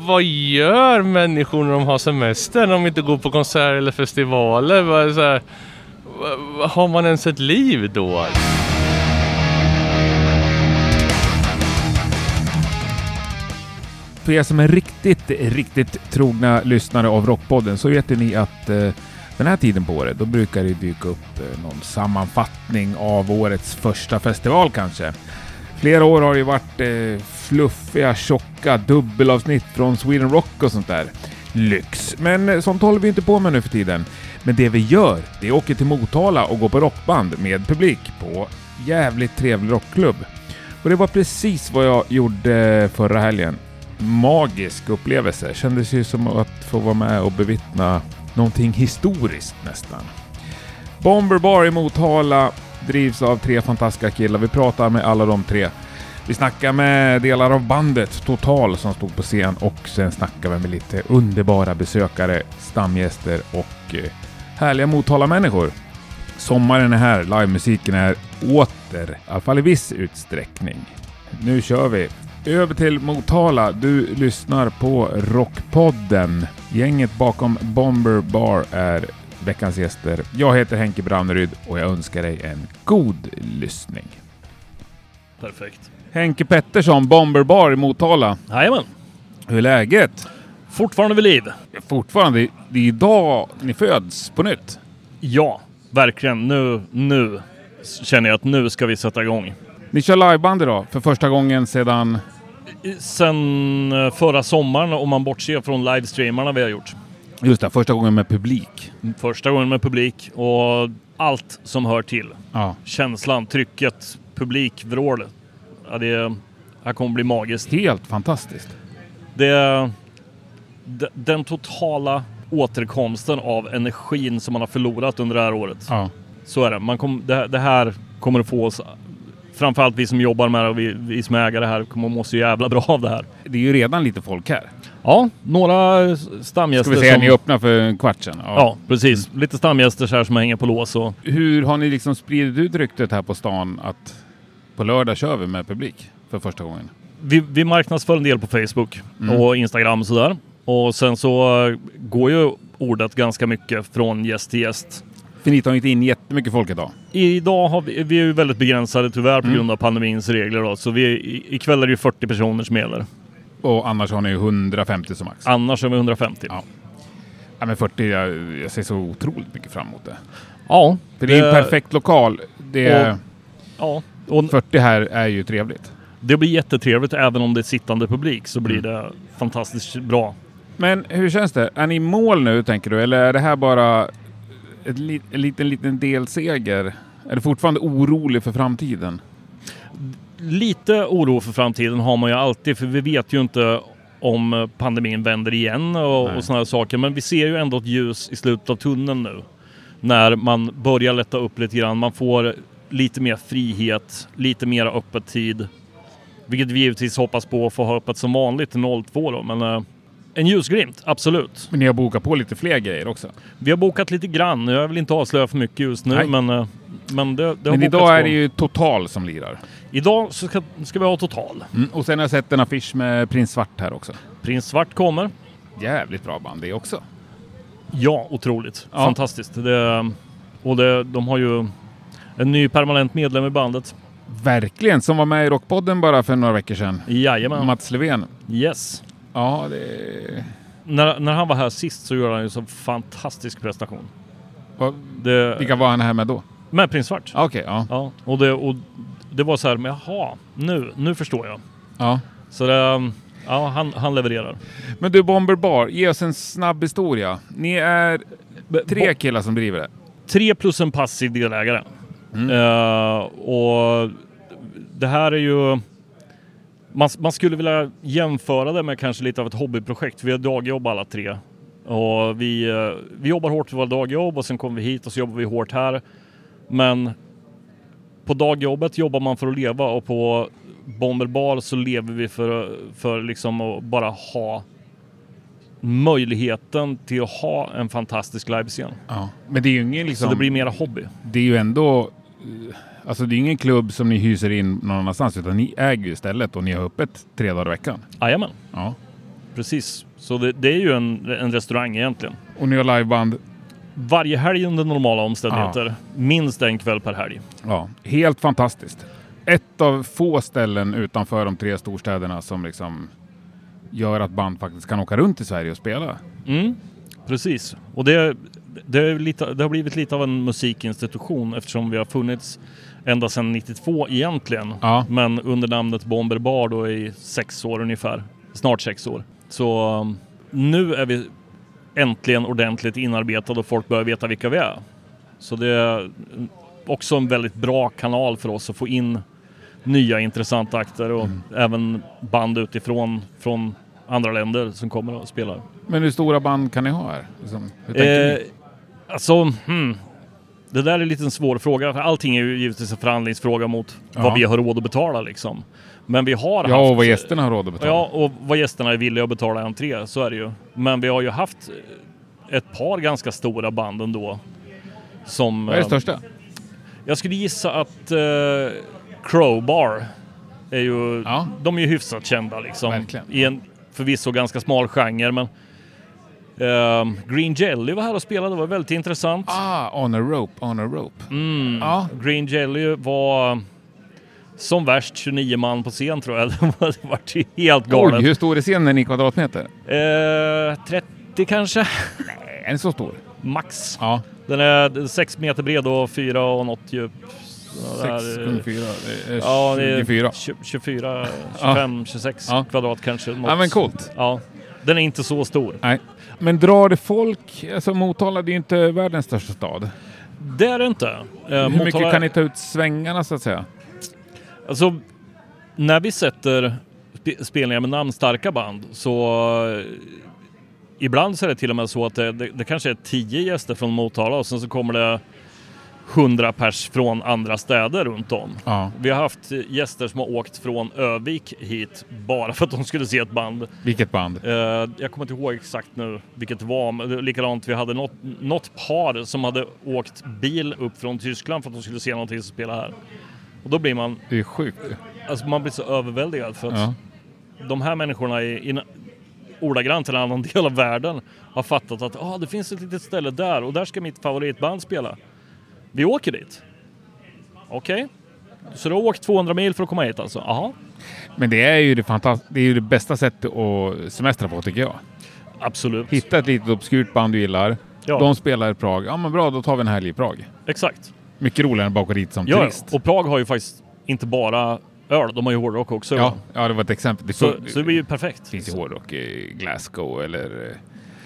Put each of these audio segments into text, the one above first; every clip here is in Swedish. vad gör människor när de har semester? När de inte går på konserter eller festivaler? Vad- Så här, vad- har man ens ett liv då? För er som är riktigt, riktigt trogna lyssnare av Rockpodden så vet ju ni att eh, den här tiden på året, då brukar det dyka upp eh, någon sammanfattning av årets första festival kanske. Flera år har det ju varit eh, fluffiga, tjocka dubbelavsnitt från Sweden Rock och sånt där. Lyx! Men eh, sånt håller vi inte på med nu för tiden. Men det vi gör, det är åker till Motala och går på rockband med publik på jävligt trevlig rockklubb. Och det var precis vad jag gjorde förra helgen magisk upplevelse. Kändes ju som att få vara med och bevittna någonting historiskt nästan. Bomber Bar i Motala drivs av tre fantastiska killar. Vi pratar med alla de tre. Vi snackar med delar av bandet Total som stod på scen och sen snackar vi med lite underbara besökare, stamgäster och eh, härliga Motala-människor. Sommaren är här, livemusiken är åter, i alla fall i viss utsträckning. Nu kör vi! Över till Motala. Du lyssnar på Rockpodden. Gänget bakom Bomber Bar är veckans gäster. Jag heter Henke Branneryd och jag önskar dig en god lyssning. Perfekt. Henke Pettersson, Bomber Bar i Motala. Jajamän. Hur är läget? Fortfarande vid liv. Fortfarande, det är idag ni föds på nytt. Ja, verkligen. Nu, nu känner jag att nu ska vi sätta igång. Ni kör liveband idag för första gången sedan... I- Sen eh, förra sommaren, om man bortser från livestreamarna vi har gjort. Just det, första gången med publik. Första gången med publik och allt som hör till. Ja. Känslan, trycket, publik, vrål. Ja, det här kommer bli magiskt. Helt fantastiskt. Det, d- den totala återkomsten av energin som man har förlorat under det här året. Ja. Så är det. Man kom, det, här- det här kommer att få oss, framförallt vi som jobbar med det och vi, vi som är ägare här, kommer att må så jävla bra av det här. Det är ju redan lite folk här. Ja, några eh, Ska stamgäster vi säga, som... ni öppnar för en kvart sedan. Ja, precis. mm. Lite stamgäster så här som hänger på lås och... Hur har ni liksom spridit ut ryktet här på stan att på lördag kör vi med publik för första gången? Vi, vi marknadsför en del på Facebook Mm. och Instagram och sådär. Och sen så eh, går ju ordet ganska mycket från gäst till gäst. För ni tar inte in jättemycket folk idag. Idag har vi, vi är ju väldigt begränsade tyvärr på Mm. grund av pandemins regler då, så vi, i- ikväll är det ju 40 personer som gäller. Och annars har ni ju 150 som max. Annars är vi 150. Ja. Ja, men 40, jag, jag ser så otroligt mycket fram emot det. Ja, För det är ju en perfekt lokal. Det är, Ja, och 40 här är ju trevligt. Mm. det blir jättetrevligt även om det är sittande publik så blir det fantastiskt bra. Men hur känns det? Är ni i mål nu tänker du? Eller är det här bara ett li- en liten, liten delseger? Är du fortfarande orolig för framtiden? Lite oro för framtiden har man ju alltid för vi vet ju inte om pandemin vänder igen och, Nej. och sådana här saker. Men vi ser ju ändå ett ljus i slutet av tunneln nu. När man börjar lätta upp lite grann. Man får lite mer frihet, lite mer öppet tid. Vilket vi givetvis hoppas på att få ha öppet som vanligt till 02 då. Men eh, en ljusglimt, absolut. Men ni har bokat på lite fler grejer också. Vi har bokat lite grann. Jag vill inte avslöja för mycket just nu, Nej. men, eh, men det, det har bokats Men på. idag är det ju Total som lirar. Idag så ska, ska vi ha total. Mm, och sen har jag sett en affisch med Prins Svart här också. Prins Svart kommer. Jävligt bra band det också. Ja, otroligt. Ja. Fantastiskt. Det, och det, de har ju en ny permanent medlem i bandet. Verkligen, som var med i Rockpodden bara för några veckor sedan. Jajamän. Mats Löfven. Yes. Ja, det... När, när han var här sist så gjorde han ju en så fantastisk prestation. Vad- Det, Vilka var han här med då? Ah, med Prins Svart. Okej, ja. Ja. Och, det, och det var så här, men jaha, nu, nu förstår jag. ja. Så det, mm, ja, han, han levererar. Men du, Bomber Bar, ge oss en snabb historia. Ni är tre Bo- killar som driver det. Mm. tre plus en passiv delägare. Eh, och det här är ju... Man, man skulle vilja jämföra det med kanske lite av ett hobbyprojekt. Vi har dagjobb alla tre. Och vi, eh, vi jobbar hårt i våra dagjobb och sen kommer vi hit och så jobbar vi hårt här. Men på dagjobbet jobbar man för att leva och på Bomber Bar så lever vi för, för liksom att bara ha möjligheten till att ha en fantastisk livescen. Ja. Men det är ju ingen Så liksom... det blir mera hobby. det är ju ändå... eh, Alltså det är ju ingen klubb som ni hyser in någon annanstans utan ni äger ju stället och ni har öppet tre dagar i veckan. Jajamän. Ja. precis. Så det, det är ju en, en restaurang egentligen. Och ni har liveband. Varje helg under normala omständigheter. Minst en kväll per helg. Ja, helt fantastiskt. Ett av få ställen utanför de tre storstäderna som liksom gör att band faktiskt kan åka runt i Sverige och spela. Mm, precis. Och det, det, är lite, det har blivit lite av en musikinstitution eftersom vi har funnits ända sedan 92 egentligen. Ja. Men under namnet Bomber Bar då i sex år ungefär. Snart sex år. Så um, nu är vi äntligen ordentligt inarbetade och folk börjar veta vilka vi är. Så det är också en väldigt bra kanal för oss att få in nya intressanta akter och även band utifrån från andra länder som kommer och spelar. Men hur stora band kan ni ha här? Liksom, hur tänker Eh, ni? Alltså, hmm. Det där är lite en svår fråga. för Allting är ju givetvis en förhandlingsfråga mot Ja. vad vi har råd att betala liksom. Men vi har haft... Ja, och vad gästerna har råd att betala. Ja, och vad gästerna är villiga att betala i entré, så är det ju. Men vi har ju haft eh, ett par ganska stora band ändå. Som... Vad är det eh, största? Jag skulle gissa att eh, Crowbar är ju... Ja. De är ju hyfsat kända liksom. Verkligen. I en förvisso ganska smal genre, men... ehm, Green Jelly var här och spelade, det var väldigt intressant. Mm. Ah, on a rope, on a rope. Ja, Green Jelly var som värst 29 man på scen tror jag. Det var- det vart ju helt Eh, galet. Oj, hur stor är scenen i kvadratmeter? eh, 30 kanske, Nej, den är så stor. max. Ja, Den är 6 meter bred och 4 och något djup. Så där, 6 eh, gånger 4, det är Ja, det är 24. 20 24, 25, 26 Ja. kvadrat kanske. Något. Ja, men coolt. Ja. Den är inte så stor. Nej. Men drar det folk? Alltså Motala, det är ju inte världens största stad. Det är det inte. Eh, Hur Motala- mycket kan ni ta ut svängarna så att säga? Alltså, när vi sätter spe- spelningar med namnstarka band så eh, ibland så är det till och med så att det, det, det kanske är tio gäster från Motala och sen så kommer det hundra pers från andra städer runt om. Ja. Vi har haft gäster som har åkt från Övik hit bara för att de skulle se ett band. Vilket band? Eh, jag kommer inte ihåg exakt nu vilket det var, men det var likadant, vi hade något, något par som hade åkt bil upp från Tyskland för att de skulle se någonting som spelade här. Och då blir man Det är sjukt. Alltså man blir så överväldigad för att Ja. de här människorna i, i ordagrant en annan del av världen har fattat att ah, det finns ett litet ställe där och där ska mitt favoritband spela. Vi åker dit. Okej. Så du har åkt 200 mil för att komma hit alltså? Jaha. Men det är, ju det, fantas- det är ju det bästa sättet att semestra på tycker jag. Absolut. Hitta ett litet obskyrt band du gillar. Ja. De spelar i Prag. Ja men bra, då tar vi en helg i Prag. Exakt. Mycket roligare än att bara åka dit som Ja, turist. och Prag har ju faktiskt inte bara öl, de har ju hårdrock också. Ja, ja, det var ett exempel. Det, Så, så det blir ju perfekt. finns ju hårdrock i Glasgow eller eh, Sankt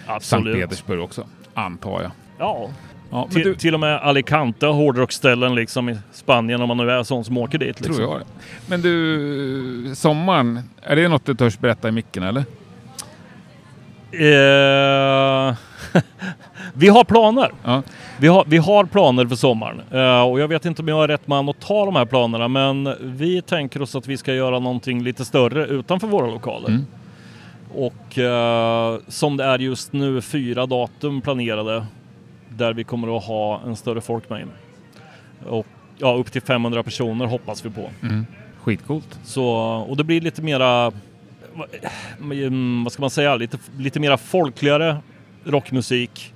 Absolut. Petersburg också. Antar jag. Ja, Ja, men till, du, till och med Alicante har hårdrockställen liksom i Spanien om man nu är sån som åker dit. Liksom. tror jag det. Men du, sommaren. Är det något du törs berätta i micken eller? Eh, vi har planer. Ja. Vi har, vi har planer för sommaren. Eh, och jag vet inte om jag är rätt man att ta de här planerna men vi tänker oss att vi ska göra någonting lite större utanför våra lokaler. Mm. Och eh, som det är just nu fyra datum planerade där vi kommer att ha en större folkmängd. Och ja, upp till 500 personer hoppas vi på. Mm. Skitcoolt. Så, och det blir lite mera, va- mm, vad ska man säga, lite, lite mera folkligare rockmusik.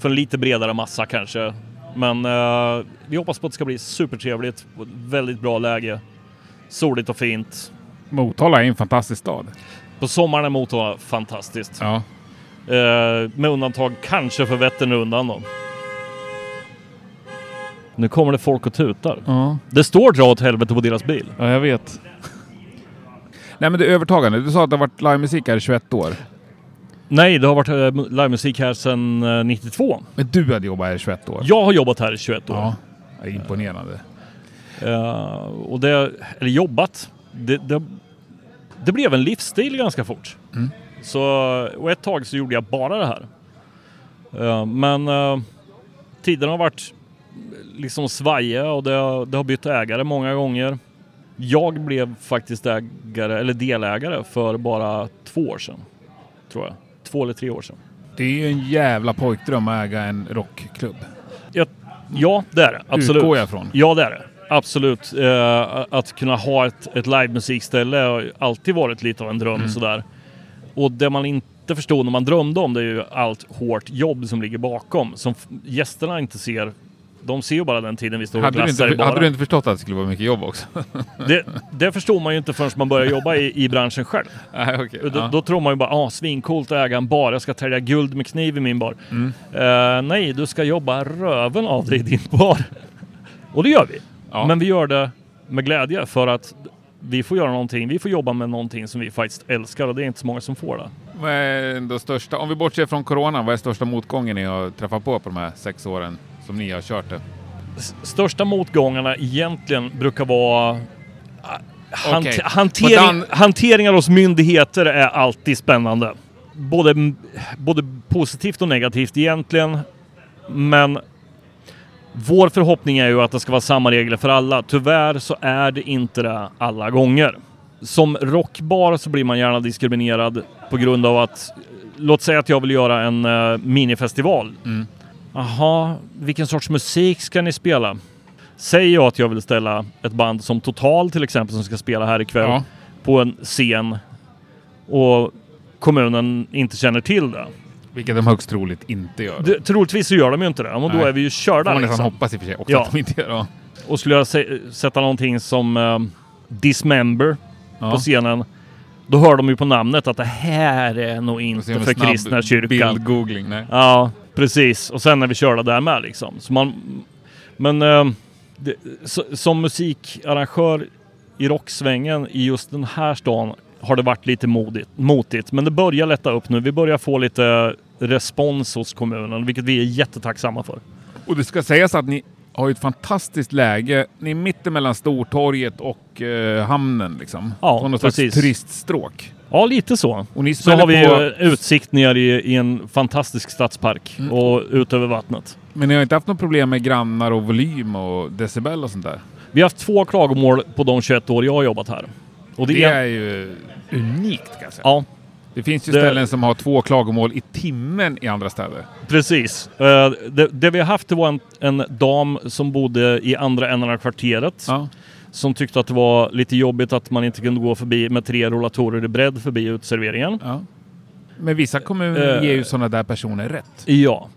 För en lite bredare massa kanske. Men eh, vi hoppas på att det ska bli supertrevligt, och ett väldigt bra läge. Soligt och fint. Motala är en fantastisk stad. På sommaren är Motala fantastiskt. Ja. Eh, med undantag kanske för Vätternrundan då. Nu kommer det folk och tutar. ja. Det står dra åt helvete på deras bil. Ja, jag vet. Nej men det är övertagande. Du sa att det har varit livemusik här i 21 år. Nej, det har varit eh, livemusik här sedan eh, 92. Men du hade jobbat här i 21 år. Jag har jobbat här i 21 år. Ja. Det är imponerande. Eh, och det, eller jobbat. Det, det, det blev en livsstil ganska fort. Mm. Så, och ett tag så gjorde jag bara det här. Eh, men eh, tiden har varit liksom svajiga och det, har- det har bytt ägare många gånger. Jag blev faktiskt ägare, eller delägare för bara två år sedan. Tror jag. Två eller tre år sedan. Det är ju en jävla pojkdröm att äga en rockklubb. Jag, ja, det är det. Absolut. Utgår jag från. Ja, det är det. Absolut. Mm. Eh, att kunna ha ett, ett livemusikställe har ju alltid varit lite av en dröm sådär. Och det man inte förstod när man drömde om det är ju allt hårt jobb som ligger bakom. Som f- gästerna inte ser. De ser ju bara den tiden vi står och Hade du, glassar i inte, hade du baren. inte förstått att det skulle vara mycket jobb också? Det, det förstod man ju inte förrän man började jobba i, i branschen själv. Nej, Ah, okej. Då, Ja. då tror man ju bara, ah, svincoolt att äga en bar, jag ska tälja guld med kniv i min bar. Mm. Eh, nej, du ska jobba röven av dig i din bar. Och det gör vi. Ja. Men vi gör det med glädje för att vi får göra någonting, vi får jobba med någonting som vi faktiskt älskar och det är inte så många som får det. Vad är ändå största, om vi bortser från corona, vad är största motgången ni har träffat på på de här sex åren som ni har kört det? S- största motgångarna egentligen brukar vara ah, hante- Okej. hantering, På dan- hanteringar hos myndigheter är alltid spännande. Både, både positivt och negativt egentligen. Men vår förhoppning är ju att det ska vara samma regler för alla. Tyvärr så är det inte det alla gånger. Som rockbar så blir man gärna diskriminerad på grund av att, låt säga att jag vill göra en eh, minifestival. Mm. Jaha, vilken sorts musik ska ni spela? Säger jag att jag vill ställa ett band som Total till exempel som ska spela här ikväll Ja. på en scen och kommunen inte känner till det. Vilket de högst troligt inte gör. det troligtvis så gör de ju inte det, och då Nej. är vi ju körda. får man nästan Liksom. hoppas i och för sig också Ja. att de inte gör. Ja. Och skulle jag sä- sätta någonting som eh, Dismember på Ja. scenen, då hör de ju på namnet att det här är nog Och se inte om en för snabb kristna kyrkan. Bildgoogling, nej. Ja, precis. Och sen är vi körda där med liksom. Så man, men eh, det, så, som musikarrangör i rocksvängen i just den här stan har det varit lite modigt, motigt. Men det börjar lätta upp nu. Vi börjar få lite respons hos kommunen, vilket vi är jättetacksamma för. Och det ska sägas att ni har ju ett fantastiskt läge. Ni är mittemellan Stortorget och eh, hamnen liksom. Ja, Som något precis. slags turiststråk. Ja, lite så. Och ni Så har vi på... Mm. ju utsikt ner i, i en fantastisk stadspark och ut över vattnet. Men ni har inte haft något problem med grannar och volym och decibel och sånt där? Vi har haft två klagomål på de 21 år jag har jobbat här. Och det, Det är... är ju unikt kan jag säga. Ja, Det finns ju Det- ställen som har två klagomål i timmen i andra städer. Precis. Eh, Det, det vi har haft det var en, en dam som bodde i andra änden av kvarteret Ja. som tyckte att det var lite jobbigt att man inte kunde gå förbi med tre rullatorer i bredd förbi uteserveringen. Ja. Men vissa kommuner Eh. ger ju sådana där personer rätt. Ja.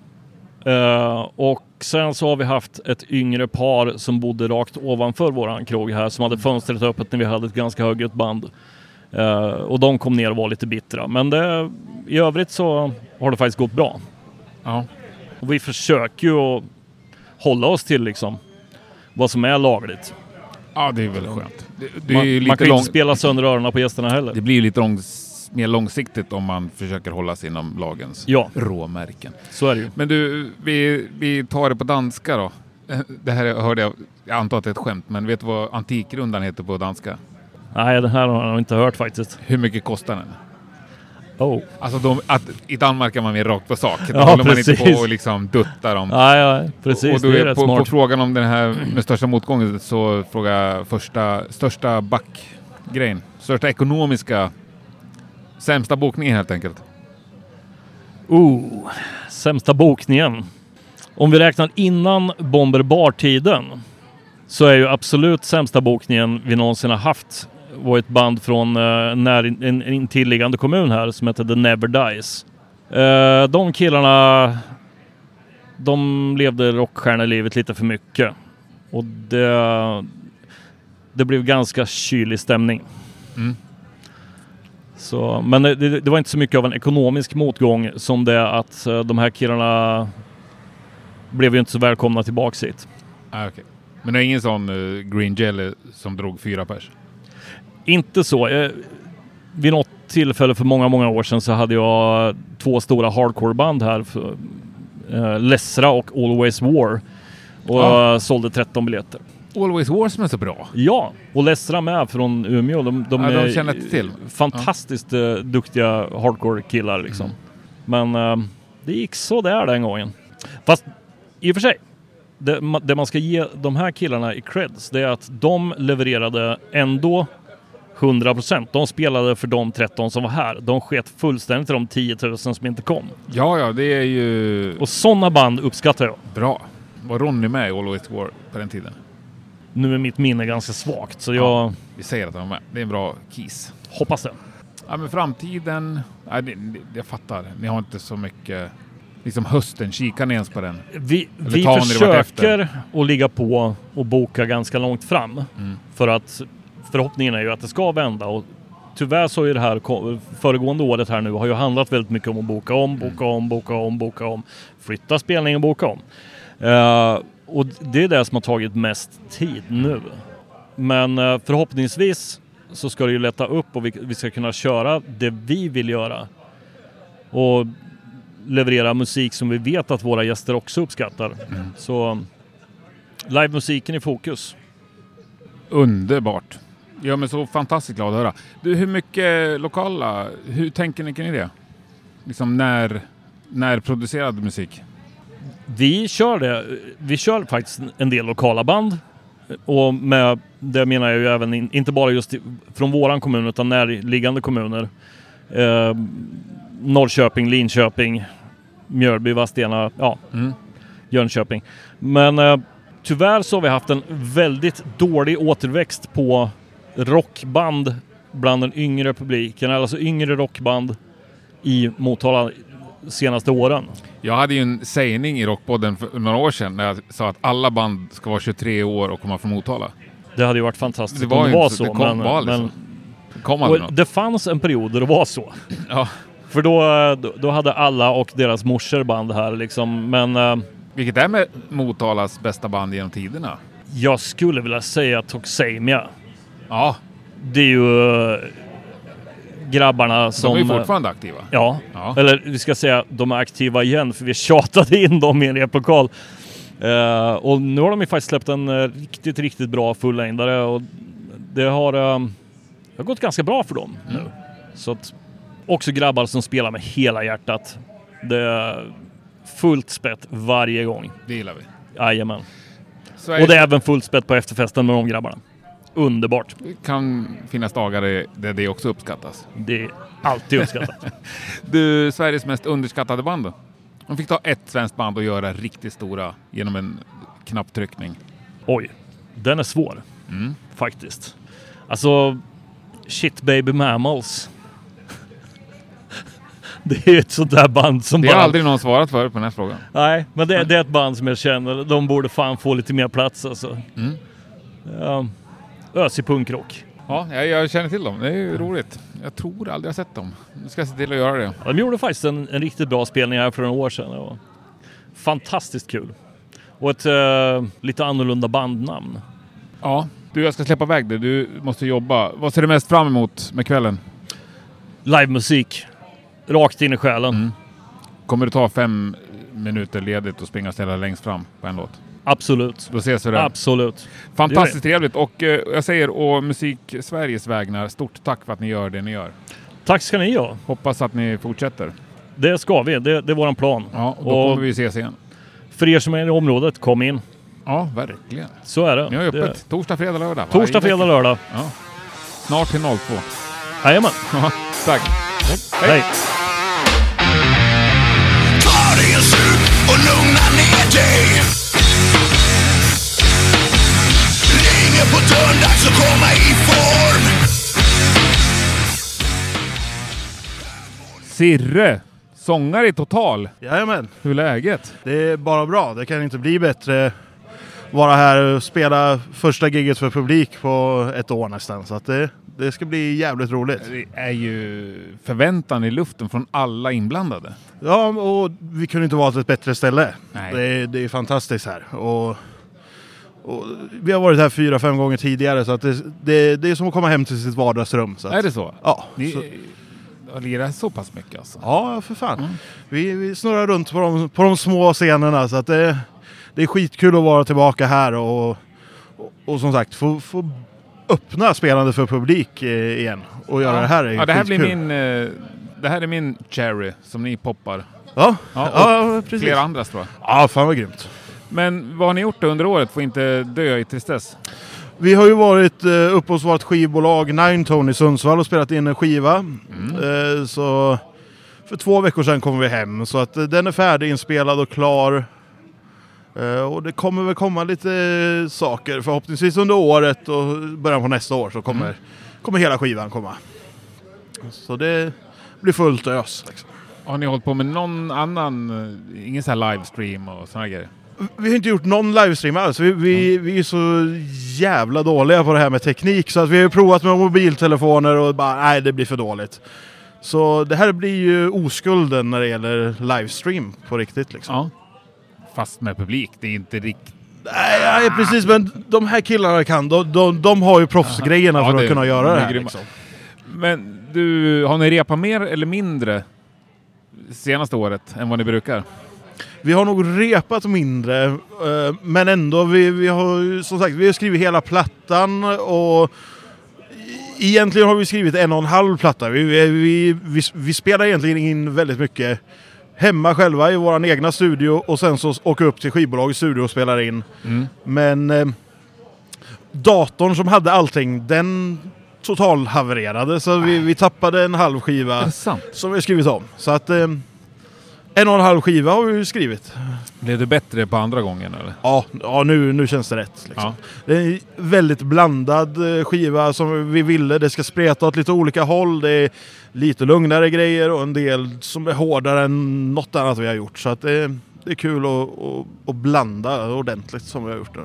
Eh, och sen så har vi haft ett yngre par som bodde rakt ovanför våran krog här som hade fönstret öppet när vi hade ett ganska högljutt band. Eh, och de kom ner och var lite bittra. Men det, i övrigt så har det faktiskt gått bra. Ja. Och vi försöker ju att hålla oss till liksom vad som är lagligt. ja, det är väl skönt. Det, det, är Man, ju man lite kan ju lång... inte spela sönder öronen på gästerna heller. det blir ju lite långs... mer långsiktigt om man försöker hålla sig inom lagens Ja, råmärken. så är det ju. Men du, vi, vi tar det på danska då. Det här hörde jag, jag antar att det är ett skämt, men vet du vad Antikrundan heter på danska? Nej, den här har jag inte hört faktiskt. Hur mycket kostar den? Oh. Alltså de, att, i Danmark är man mer rakt på sak. Då Ja, håller man inte precis. på och liksom duttar om. Nej, nej, precis. och då det är är rätt på, på smart. frågan om den här med största motgången så frågar jag första, största backgrejen. Största ekonomiska, sämsta bokningen helt enkelt. Oh, sämsta bokningen. Om vi räknar innan Bomber Bar-tiden så är ju absolut sämsta bokningen vi någonsin har haft var ett band från eh, när, en, en intilliggande kommun här som heter The Never Dies. Eh, de killarna, de levde rockstjärnelivet lite för mycket och det, det blev ganska kylig stämning. Så, men det, det det var inte så mycket av en ekonomisk motgång som det att eh, de här killarna blev ju inte så välkomna tillbaks hit. Ah, okay. Men det är ingen sån eh, green jelly som drog fyra pers? Inte så. Jag, vid något tillfälle för många, många år sedan så hade jag två stora hardcoreband här. För, eh, Lessra och Always War. Och Ja. jag sålde 13 biljetter. Always War som är så bra. Ja, och Lessra med från Umeå. De, de Ja, de är känner jag inte till. fantastiskt eh, duktiga hardcore-killar liksom. Mm. Men eh, det gick så där den gången. Fast i och för sig, det, ma- det man ska ge de här killarna i creds, det är att de levererade ändå 100%. De spelade för de 13 som var här. De sket fullständigt i de 10 000 som inte kom. Ja, ja, det är ju Och sådana band uppskattar jag. bra. Var Ronny med i Always War på den tiden? Nu är mitt minne ganska svagt, så jag Vi säger att han var med. Det är en bra kiss. hoppas det. Ja, men framtiden. Nej, det, det, jag fattar. Ni har inte så mycket. Liksom hösten, kikar ni ens på den? Vi, Eller vi tar ni det vartefter? försöker att ligga på och boka ganska långt fram. Mm. För att förhoppningen är ju att det ska vända. Och tyvärr så är det här ko- föregående året här nu har ju handlat väldigt mycket om att boka om, Mm. boka om, boka om, boka om. Flytta spelningen, boka om. Eh, och det är det som har tagit mest tid nu. Men eh, förhoppningsvis så ska det ju lätta upp och vi, vi ska kunna köra det vi vill göra. Och leverera musik som vi vet att våra gäster också uppskattar. Mm. Så um, livemusiken i fokus. Underbart. Gör mig så fantastiskt glad att höra. Du, hur mycket lokala, hur tänker ni kring det? Liksom när, när producerad musik? Vi kör det. Vi kör faktiskt en del lokala band. Och med det menar jag ju även in, inte bara just i- från våran kommun utan närliggande kommuner. Eh, Norrköping, Linköping, Mjölby, Vadstena, ja, Mm. Jönköping. Men eh, tyvärr så har vi haft en väldigt dålig återväxt på rockband bland den yngre publiken, alltså yngre rockband i Motala senaste åren. Jag hade ju en sägning i Rockpodden för några år sedan när jag sa att alla band ska vara 23 år och komma från Motala. Det hade ju varit fantastiskt Det var om ju det var inte så- så. det kom- var liksom Det kom aldrig och något. det fanns en period där det var så. Ja. För då, eh, då- då hade alla och deras morsor band här liksom. Men eh, Vilket är med Motalas bästa band genom tiderna. jag skulle vilja säga Toxemia. Ja, Det är ju eh, grabbarna de som... eh, är ju fortfarande aktiva. Ja. Ja. eller vi ska säga de är aktiva igen för vi tjatade in dem i en replokal. Eh, och nu har de ju faktiskt släppt en eh, riktigt, riktigt bra fullängdare och det har, eh, det har gått ganska bra för dem Mm. nu. Så att också grabbar som spelar med hela hjärtat. Det är fullt spett varje gång. Det gillar vi. Jajamän. Sverige Och det är även fullt spett på efterfesten med de grabbarna. Underbart. kan finnas dagar där det också uppskattas. Det är alltid uppskattat. Du, Sveriges mest underskattade band då? De fick ta ett svenskt band och göra riktigt stora genom en knapptryckning. Oj, den är svår. Mm. Faktiskt. Alltså, shit baby mammals. Det är ett sånt där band som Det har bara... aldrig någon svarat förut på den här frågan. Nej, men det, det är ett band som jag känner, de borde fan få lite mer plats alltså. Mm. Ja, ösig punkrock. Ja, jag, jag känner till dem. Det är ju roligt. Jag tror aldrig jag har sett dem. Nu ska jag se till att göra det. Ja, De gjorde faktiskt en, en riktigt bra spelning här för några år sedan. Det var fantastiskt kul. Och ett eh, lite annorlunda bandnamn. Ja. Du, jag ska släppa iväg dig. Du måste jobba. Vad ser du mest fram emot med kvällen? Livemusik. Rakt in i själen. Mm. Kommer du ta fem minuter ledigt och springa och ställa längst fram på en låt? Absolut. Då ses vi där. Absolut. Fantastiskt trevligt och eh, jag säger å Musik Sveriges vägnar, stort tack för att ni gör det ni gör. Tack ska ni ha. Hoppas att ni fortsätter. Det ska vi, det, det är våran plan. Ja, och då Och- kommer vi ses igen. För er som är i området, kom in. Ja, verkligen. Så är det. Ni har ju Det- öppet torsdag, fredag, lördag. varje Torsdag, fredag, vecka. lördag. Ja. Snart till 02. Jajamän. Ja, tack. Hej. Ta dig en sup och lugna ner dig Ringer på dörren, dags att komma i form Sirre, sångare i Total. Jajamän, Hur är läget? det är bara bra. Det kan inte bli bättre. Vara här och spela första giget för publik på ett år nästan. Så att det, det ska bli jävligt roligt. Det är ju förväntan i luften från alla inblandade. Ja, och vi kunde inte vara till ett bättre ställe. Nej. Det är, det är fantastiskt här. Och, och vi har varit här fyra, fem gånger tidigare så att det, det, det är som att komma hem till sitt vardagsrum. Så att, Är det så? Ja, Ni så, har lirat så pass mycket alltså? ja för fan. Vi, vi snurrar runt på de, på de små scenerna så att det, det är skitkul att vara tillbaka här och, och, och som sagt få, få öppna spelande för publik eh, igen. Och göra det här är ju ja, det här blir skitkul. min... eh, Det här är min cherry som ni poppar. Ja, Ja, ja, och precis. Flera andras tror jag. Ja, fan vad grymt. Men vad har ni gjort då under året för att inte dö i tristess? Vi har ju varit eh, uppe hos vårt skivbolag Nine Tone i Sundsvall och spelat in en skiva. Eh, så för två veckor sedan kom vi hem så att eh, den är färdiginspelad och klar. Eh, och det kommer väl komma lite eh, saker förhoppningsvis under året och början på nästa år så kommer, kommer hela skivan komma. Så det blir fullt ös. Liksom. Har ni hållit på med någon annan, eh, ingen sån här livestream och såna här grejer? Vi har inte gjort någon livestream alls. Vi, vi, vi är så jävla dåliga på det här med teknik så att vi har ju provat med mobiltelefoner och bara nej, det blir för dåligt. Så det här blir ju oskulden när det gäller livestream på riktigt liksom. Ja. Fast med publik, det är inte riktigt... Nej, nej, precis men de här killarna kan, de, de, de har ju proffsgrejerna Ja, för det- att kunna de göra är det här. grymma. Liksom. Men du, har ni repat mer eller mindre senaste året än vad ni brukar? Vi har nog repat mindre, eh, men ändå, vi, vi har ju- som sagt, vi har skrivit hela plattan och e- egentligen har vi skrivit en och en halv platta. Vi, vi, vi, vi, vi spelar egentligen in väldigt mycket hemma själva i vår egna studio och sen så åker vi upp till skivbolagets studio och spelar in. Mm. Men eh, datorn som hade allting, den totalhavererade så vi, vi tappade en halv skiva Är det sant? som vi har skrivit om. Så att eh, en och en halv skiva har vi ju skrivit. Blev du bättre på andra gången eller? Ja, ja nu, nu känns det rätt. Liksom. Ja. Det är en väldigt blandad eh, skiva som vi ville. Det ska spreta åt lite olika håll. Det är lite lugnare grejer och en del som är hårdare än något annat vi har gjort. Så att det, det är kul att, att, att blanda ordentligt som vi har gjort nu.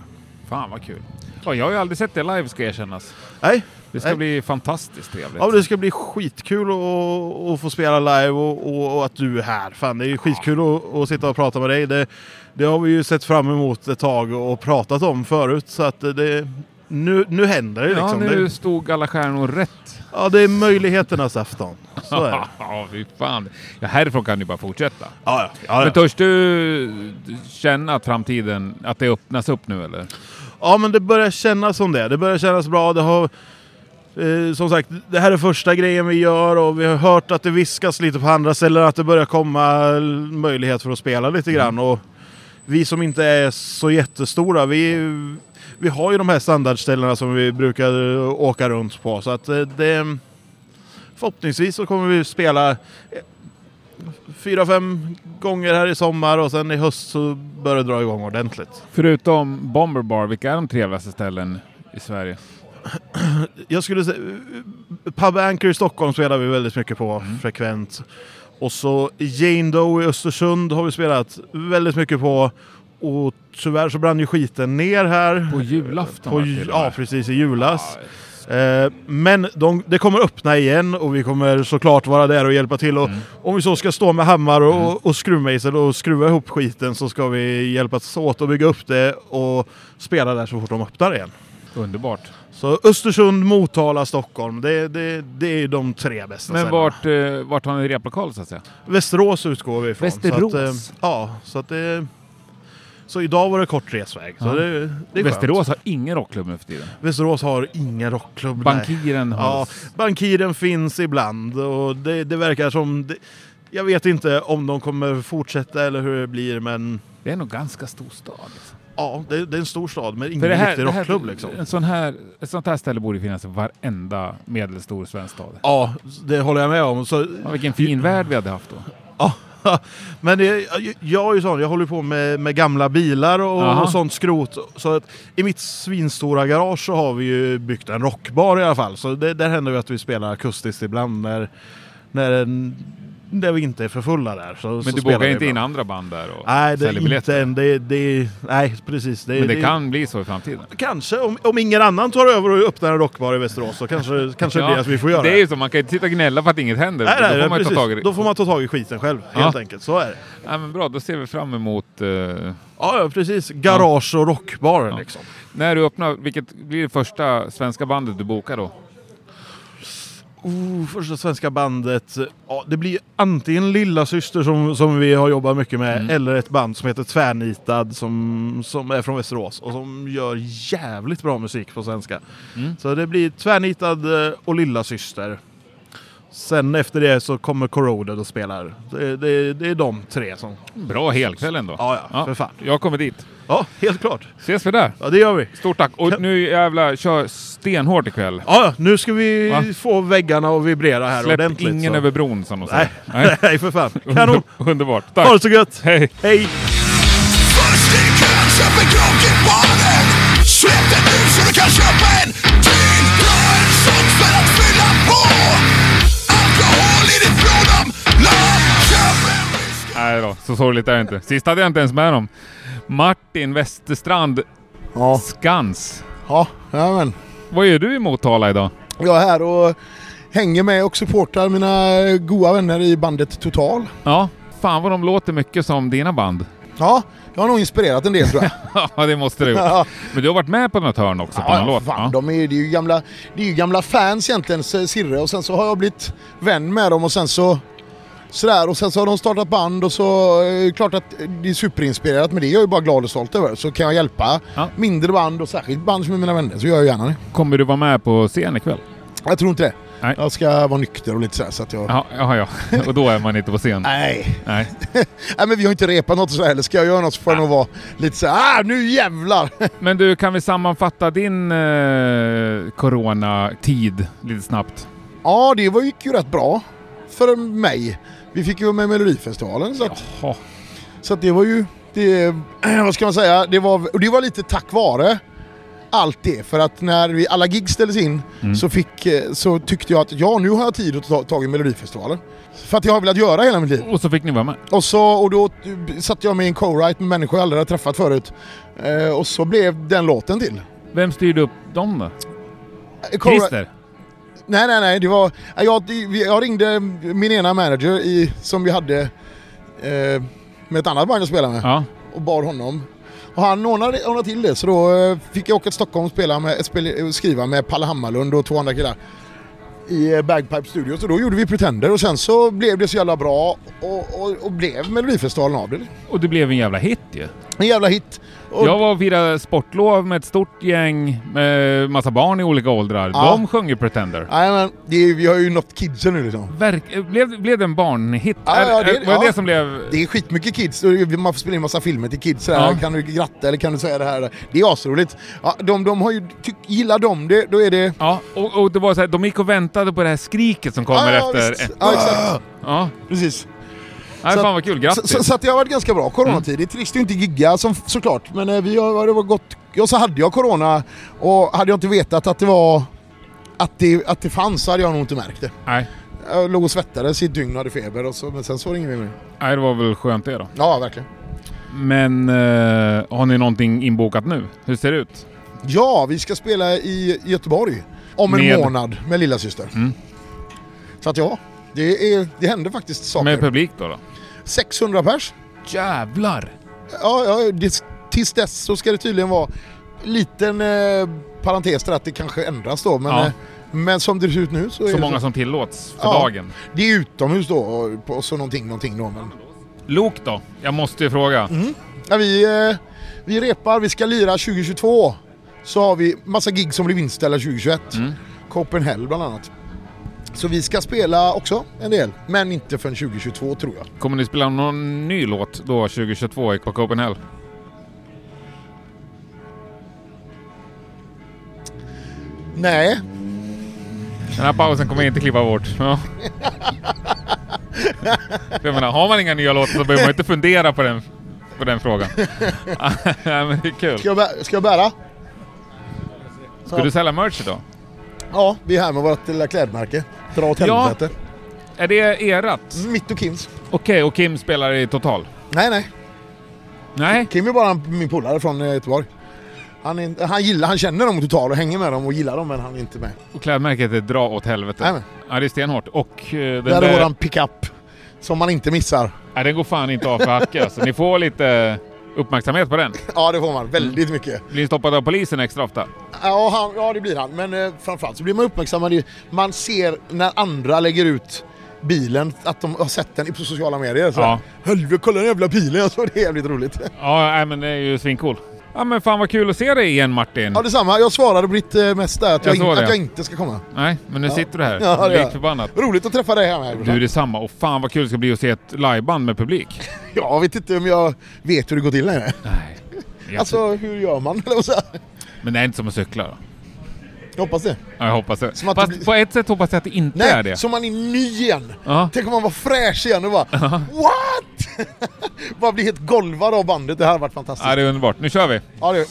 Fan vad kul. Ja, jag har ju aldrig sett det live ska erkännas. Nej, Det ska Nej. bli fantastiskt trevligt. ja, det ska bli skitkul att, att få spela live och, och, och att du är här. Fan, det är ju skitkul att, att sitta och prata med dig. Det, det har vi ju sett fram emot ett tag och pratat om förut. Så att det, nu, nu händer det liksom. ja, Det- nu stod alla stjärnor rätt. Ja, det är möjligheternas afton. Så är det. Ja, fy fan. Ja, härifrån kan du bara fortsätta. Ja, ja. Men törs du känna att framtiden, att det öppnas upp nu eller? ja, men det börjar kännas som det. Det börjar kännas bra. Det har, eh, som sagt, det här är första grejen vi gör och vi har hört att det viskas lite på andra ställen att det börjar komma l- möjlighet för att spela lite grann. Mm. Och vi som inte är så jättestora, vi, vi har ju de här standardställena som vi brukar eh, åka runt på. Så att eh, det... Förhoppningsvis så kommer vi spela eh, fyra, fem gånger här i sommar och sen i höst så börjar det dra igång ordentligt. Förutom Bomber Bar, vilka är de trevligaste ställen i Sverige? jag skulle säga... eh, Pub Anchor i Stockholm spelar vi väldigt mycket på Mm. frekvent. Och så Jane Doe i Östersund har vi spelat väldigt mycket på. Och tyvärr så brann ju skiten ner här. På julafton? På va, ju- till och med? ja, precis. I julas. Eh, Men de, det kommer öppna igen och vi kommer såklart vara där och hjälpa till. Och Mm. Om vi så ska stå med hammar och, och skruvmejsel och skruva ihop skiten så ska vi hjälpas åt att bygga upp det och spela där så fort de öppnar igen. Underbart. Så Östersund, Motala, Stockholm. Det, det, det är de tre bästa Men ställena. vart, eh, vart har ni replokal så att säga? Västerås utgår vi ifrån. Västerås? Så att, eh, ja, så att det... Så idag var det kort resväg. Så Ja. det, det är Västerås Skönt. har ingen rockklubb nu för tiden. Västerås har ingen rockklubb. nej. Bankiren Ja, har... bankiren finns ibland och det, det verkar som... Det, jag vet inte om de kommer fortsätta eller hur det blir men... Det är nog ganska stor stad. liksom. Ja, det, det är en stor stad men För ingen det här, riktig det här, rockklubb liksom. en sån här, ett sånt här ställe borde finnas i varenda medelstor svensk stad. Ja, det håller jag med om. Så Ja, vilken fin värld vi hade haft då. Ja, men det, jag är ju sån, jag håller på med, med gamla bilar och, Aha. och sånt skrot. Så att i mitt svinstora garage så har vi ju byggt en rockbar i alla fall. Så det, där händer ju att vi spelar akustiskt ibland när, när, en, när vi inte är för fulla där. Så, Men du vågar inte in andra band där och Nej, det säljer är biljetter? inte än. Det, det, nej, precis. Det, Men det kan bli så i framtiden. Kanske, om, om ingen annan tar över och öppnar en rockbar i Västerås så kanske, kanske det Ja, blir att vi får göra Det är ju så, man kan ju inte sitta och gnälla för att inget händer. Nej, då nej, får man ju ta precis. tag i det. Då får man ta tag i skiten själv, helt Ja. enkelt. Så är det. Ja, men bra, då ser vi fram emot... eh, Ja, ja precis. Garage och rockbar liksom. när du öppnar, vilket blir det första svenska bandet du bokar då? Oh, första svenska bandet. Ja, det blir antingen Lilla Syster som, som vi har jobbat mycket med Mm. eller ett band som heter Tvärnitad som, som är från Västerås och som gör jävligt bra musik på svenska. Mm. Så det blir Tvärnitad eh, och Lilla Syster. Sen efter det så kommer Corroded och spelar. Det, det, det är de tre som... Bra helkväll ändå. Ja, ja, för fan. Jag kommer dit. Ja, helt klart. Ses vi där. Ja, det gör vi. Stort tack. Och nu jävla kör stenhårt ikväll. Ja, ja, nu ska vi Va? få väggarna att vibrera här Släpp ordentligt. ingen så. över bron som de säger. Nej, nej för fan. Kanon! Underbart. Ha det Tack. så gött! Hej. Hej! Först in kanske för kroken barnen Släpp den nu så du kan köpa en till Jag har en shot för att fylla på Allt Nej då, så sorgligt är det inte. Sist hade jag inte ens med dem. Martin Westerstrand Ja, Skans. ja, jajamän. Vad gör du i Motala idag? Jag är här och hänger med och supportar mina goa vänner i bandet Total. Ja, fan vad de låter mycket som dina band. Ja, jag har nog inspirerat en del tror jag. Ja, det måste du Ja. Men du har varit med på något hörn också på någon låt? fan, ja. de är, det, är ju gamla, det är ju gamla fans egentligen, S- Sirre, och sen så har jag blivit vän med dem och sen så Sådär, och sen så har de startat band och så eh, är det klart att det är superinspirerat men det är jag ju bara glad och stolt över. Så kan jag hjälpa Ja. mindre band och särskilt band som är mina vänner så gör jag gärna det. Kommer du vara med på scen ikväll? Jag tror inte det. Nej. Jag ska vara nykter och lite sådär så att jag... Ja, ja, ja. Och då är man inte på scen? Nej. Nej. Nej men vi har inte repat något sådär heller. Ska jag göra något så får jag nog vara lite såhär ah, nu jävlar! Men du, kan vi sammanfatta din eh, coronatid lite snabbt? ja det var, gick ju rätt bra. För mig. Vi fick ju vara med i Melodifestivalen så att, Ja. så att det var ju... Det, vad ska man säga? Det var, och det var lite tack vare allt det. För att när vi, alla gig ställdes in Mm. så, fick, eh, så tyckte jag att ja nu har jag tid att ta tag i Melodifestivalen. För att jag har velat göra hela mitt liv. Och så fick ni vara med. Och, så, och då satte jag mig i en co-write med människor jag aldrig hade träffat förut. Eh, och så blev den låten till. Vem styrde upp dem då? Eh, co-write- Christer? Nej, nej, nej. Det var, nej, jag, vi- jag ringde min ena manager i, som vi hade eh, med ett annat band jag spelade med Ja. och bad honom. Och han ordnade, ordnade till det så då eh, fick jag åka till Stockholm och spela med, spel, eh, skriva med Palle Hammarlund och två andra killar i eh, Bagpipe Studios och då gjorde vi Pretender och sen så blev det så jävla bra och, och, och blev Melodifestivalen av det. Och det blev en jävla hit ju. En jävla hit. Och, Jag var och firade sportlov med ett stort gäng med massa barn i olika åldrar. Ja. De sjöng ju Pretender. Nej men, det är, vi har ju nått kidsen nu liksom. Verk- blev, blev det en barnhit? Ja, Är- ja, det- är- var ja. det som blev... Det är skitmycket kids, och man får spela in massa filmer till kids. Så här, Ja. Kan du gratta eller kan du säga det här? Det är asroligt. Ja, de, de har ju, ty, gillar de det, då är det... Ja, och, och det var så här, de gick och väntade på det här skriket som kommer ja, efter... visst. Ja, exakt. Ja, Precis. Nej, Så- fan vad kul. Så, Grattis! så, så att det har varit ganska bra coronatid. Det är trist att inte gigga som, såklart, men eh, vi har, det var gott. Och så hade jag corona och hade jag inte vetat att det var... Att det, att det fanns så hade jag nog inte märkt det. Nej. Jag låg och svettades i ett dygn och hade feber och så, men sen så var det inget mer med det. Nej, det var väl skönt det då. Ja, verkligen. Men eh, har ni någonting inbokat nu? Hur ser det ut? Ja, vi ska spela i Göteborg om en Med- Mm. månad med lillasyster. Så att ja, det, är, det händer faktiskt saker. Med publik då? då? 600 pers. Jävlar! Ja, ja det, tills dess så ska det tydligen vara liten eh, parentes där att det kanske ändras då. Men, Ja. eh, men som det ser ut nu så, är Så det många som tillåts för Ja. dagen. Det är utomhus då och, och så någonting, någonting då. Men, Mm. Lok då? Jag måste ju fråga. ja, vi, eh, vi repar, vi ska lira 2022. Så har vi massa gig som blev inställda 2021. Mm. Copenhagen bland annat. Så vi ska spela också en del, men inte förrän 2022 tror jag. Kommer ni spela någon ny låt då 2022 i- på Copenhagen? Nej, Den här pausen kommer jag inte klippa bort. Ja. Jag menar, har man inga nya låtar så behöver man inte fundera på den, på den frågan. Nej, men det är kul. ska jag, bä- ska jag bära? Ska du sälja merch idag? Ja, vi är här med vårt lilla klädmärke. Dra åt Ja. helvete. Är det erat? Mitt och Kims. Okej, och Kim spelar i Total? Nej, nej. Nej? Kim är bara en- min polare från eh, Göteborg. Han, är, inte- han gillar, han känner dem totalt och hänger med dem och gillar dem men han är inte med. Och klädmärket är Dra åt helvete. Nej, men. Ja, det är stenhårt. Och eh, den, Där är där, våran pickup. Som man inte missar. ja, den går fan inte av för hacka. så ni får lite eh, uppmärksamhet på den. Ja, det får man. Väldigt mycket. Blir ni stoppade av polisen extra ofta? Mm. Ja, han, ja det blir han. Men eh, framförallt så blir man uppmärksammad. i- Man ser när andra lägger ut bilen, att de har sett den på sociala medier. Så Ja. ja. Helvete, kolla den jävla bilen! Jag såg det är jävligt roligt. Ja, nej, men det är ju svincool. Ja, men fan vad kul att se dig igen Martin. Ja, detsamma. Jag svarade Britt eh, mest där att jag, Jag såg in, det. att jag inte ska komma. Nej, men nu sitter du här. Ja, det gör Likt jag. förbannat. Roligt att träffa dig här med. Du, detsamma. Och fan vad kul det ska bli att se ett liveband med publik. Jag vet inte om jag vet hur det går till längre. Nej. Alltså, hur gör man? Eller vad så här. Men det är inte som att cykla då. Jag hoppas det. Ja, jag hoppas det. Som att det Fast blir- på ett sätt hoppas jag att det inte är Nej, det. så man är ny igen. Ja. Tänk om man var fräsch igen och bara What? bara bli helt golvad av bandet. Det här har varit fantastiskt. Ja, det är underbart. Nu kör vi! Ja, det...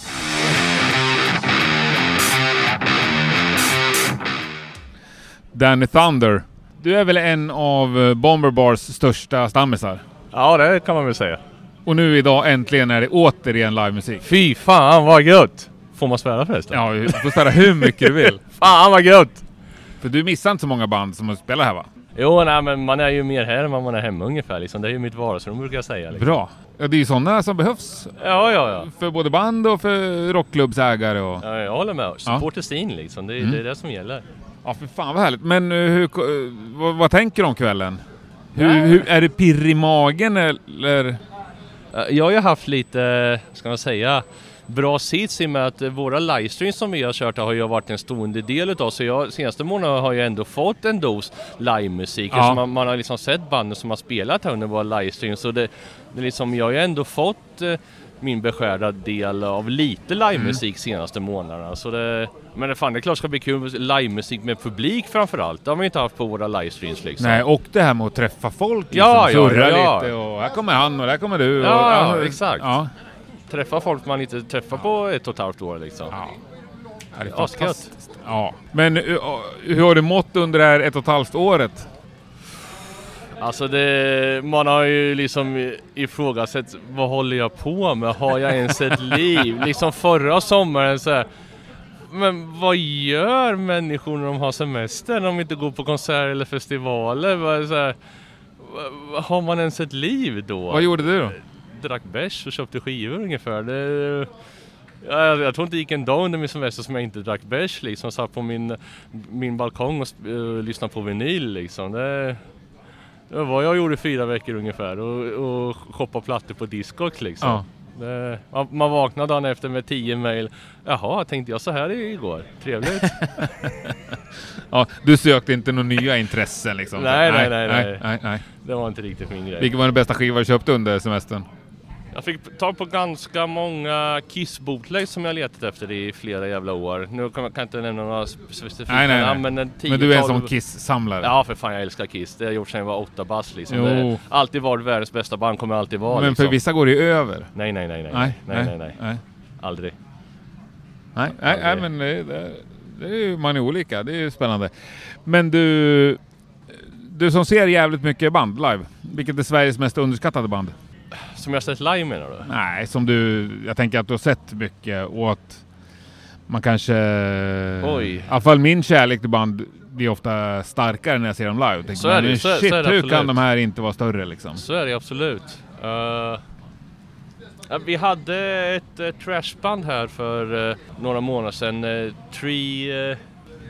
Danny Thunder. Du är väl en av eh, Bomber Bars största stammisar? Ja, det kan man väl säga. Och nu idag äntligen är det återigen livemusik. Fy fan vad gött! Får man svära förresten? Ja, du får ställa hur mycket du vill. Fan vad gött! För du missar inte så många band som spelar här va? Jo, nej, men man är ju mer här än vad man är hemma ungefär liksom. Det är ju mitt vardagsrum brukar jag säga. Liksom. Bra. Ja, det är ju sådana som behövs Ja, ja, ja. för både band och för rockklubbsägare och... Ja, Jag håller med. Support the scene liksom. Det, är- det är det som gäller. Mm. Ja, för fan vad härligt. Men eh, hur, ko- eh, vad, vad tänker du om kvällen? Hur, hur, är det pirr i magen eller? Eh, Jag har ju haft lite, eh, ska man säga, bra sits i och med att eh, våra livestreams som vi har kört har ju varit en stående del utav så jag, senaste månaden har jag ändå fått en dos livemusik. Ja. Ja. Man, man har liksom sett banden som har spelat här under våra livestreams så det, det är liksom, jag har ju ändå fått eh, min beskärda del av lite livemusik Mm. senaste månaderna. Så det, men det, fan, det är klart det ska bli kul med livemusik med publik framförallt. Det har vi ju inte haft på våra livestreams liksom. Nej, och det här med att träffa folk Ja, liksom, ja, surra ja. lite och här kommer han och där kommer du. och, Ja, exakt. Ja, Träffa folk man inte träffar på ett och ett halvt år liksom. Ja, det är Asgött. fantastiskt. Ja. Men eh, eh, hur har du mått under det här ett och ett halvt året? Alltså det, man har ju liksom ifrågasatt vad håller jag på med? Har jag ens ett liv? Liksom förra sommaren så här. Men vad gör människor när de har semester? När de inte går på konserter eller festivaler? Vad är Så här, vad- har man ens ett liv då? Vad gjorde du? då? drack bärs och köpte skivor ungefär. Det, Ja, jag, jag tror inte det gick en dag under min semester som jag inte drack bärs liksom. Satt på min, min balkong och sp- eh, lyssnade på vinyl liksom. Det, det var vad jag gjorde i fyra veckor ungefär och, och shoppade plattor på Discogs liksom. Ja. Det, man, man vaknade dagen efter med tio mejl. Jaha, tänkte jag så här igår? Trevligt. Ja, du sökte inte några nya intressen liksom? Nej, nej, nej, nej. nej, nej, nej. det var inte riktigt min grej. Vilken var den bästa skiva du köpte under semestern? Jag fick tag på ganska många kiss bootleg som jag letat efter i flera jävla år. Nu kan jag, kan jag inte nämna några spe- specifika Nej, nej, nej. namn, men en tiotal... Men du är en sån Kiss-samlare. Ja, för fan jag älskar Kiss. Det har jag gjort sedan jag var åtta bast liksom. Jo. Det har alltid varit världens bästa band, kommer alltid vara Men liksom. för vissa går det ju över. Nej, nej, nej, nej. Nej, nej, nej, nej. nej. Aldrig. Nej, nej, nej, men det, det, det är ju, man är olika. Det är ju spännande. Men du, du som ser jävligt mycket band live, vilket är Sveriges mest underskattade band? Som jag sett live menar du? Nej, som du, jag tänker att du har sett mycket och att man kanske... Oj. I alla fall min kärlek till band blir ofta starkare när jag ser dem live. Tänker Så är man, det ju, "Men så är- så Shit, är det hur kan absolut." de här inte vara större liksom? Så är det absolut. Eh, ja, vi hade ett eh, trashband här för eh, några månader sedan. eh, Three eh,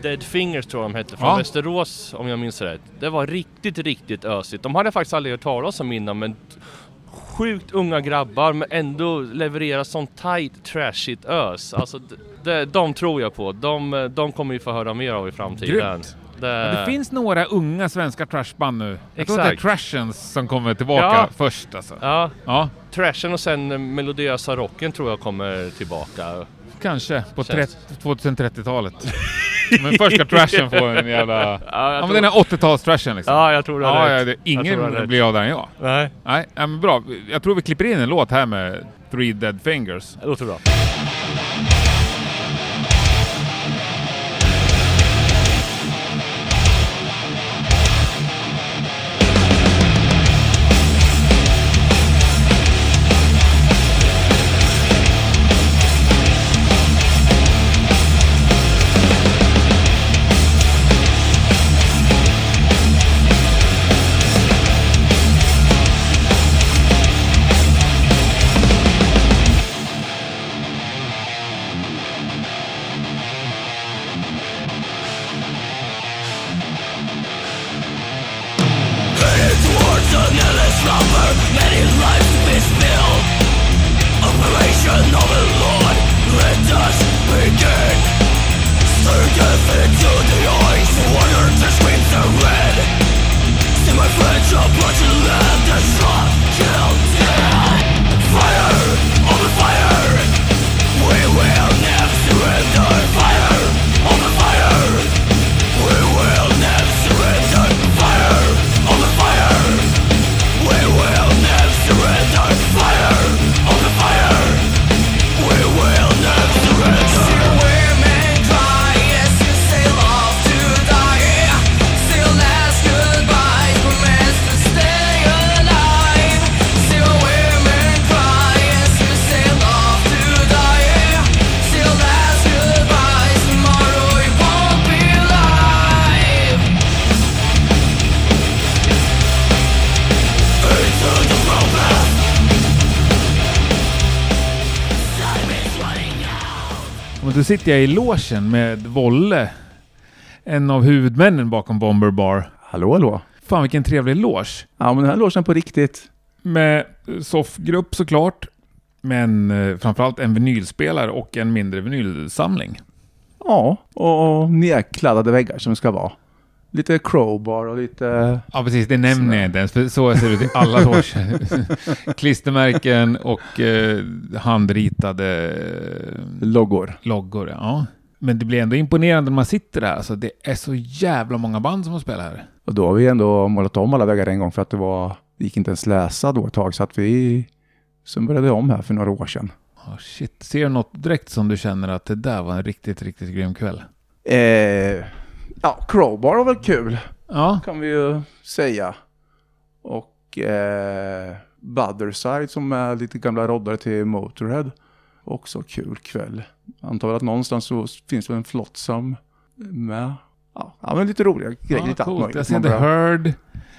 Dead Fingers tror jag de hette, från Ja. Västerås om jag minns rätt. Det var riktigt, riktigt ösigt. De hade faktiskt aldrig hört talas om innan men sjukt unga grabbar men ändå levererar sån tight, trashigt ös. Alltså, d- det, de tror jag på. De, eh, de kommer vi få höra mer av i framtiden. Grymt. Eh. Men Det finns några unga svenska trashband nu. Jag tror att det är Exakt. Trashens som kommer tillbaka Ja. först alltså. Ja, Ja, Trashen och sen eh, melodiösa rocken tror jag kommer tillbaka. kanske på Känns- 30 2030-talet. Men först ska trashen få en jävla... Ja, Ja, jag men tror, den här 80-tals-trashen liksom. ja, jag tror du har ja, ja rätt. det, Jag tror ingen du har rätt. blir av den än jag. Nej, Nej, ja, men bra. Jag tror vi klipper in en låt här med Three Dead Fingers. det låter bra. Men då sitter jag i logen med Volle, en av huvudmännen bakom Bomber Bar. Hallå, hallå. Fan vilken trevlig loge. Ja, men den här logen på riktigt. Med soffgrupp såklart, men eh, framförallt en vinylspelare och en mindre vinylsamling. Ja, och, och nedkladdade väggar som det ska vara. Lite crowbar och lite... Ja precis, det nämner jag inte ens, för så ser det ut i alla loger. Klistermärken och eh, handritade eh, Loggor. loggor. Ja. Men det blir ändå imponerande när man sitter där. Alltså, det är så jävla många band som har spelat här. Och då har vi ändå målat om alla väggar en gång för att det var... Det gick inte ens läsa då ett tag så att vi... Sen började vi om här för några år sedan. Oh, shit. Ser du något direkt som du känner att det där var en riktigt, riktigt grym kväll? Eh, ja, crowbar var väl kul. Ja, kan vi ju säga. Och eh, Butherside som är lite gamla roddare till Motorhead. Också kul kväll. Antar att någonstans så finns det en Flotsam med. Ja, ja, men lite roliga grejer. ja lite allt coolt. möjligt. Jag ser Man The bara- Heard.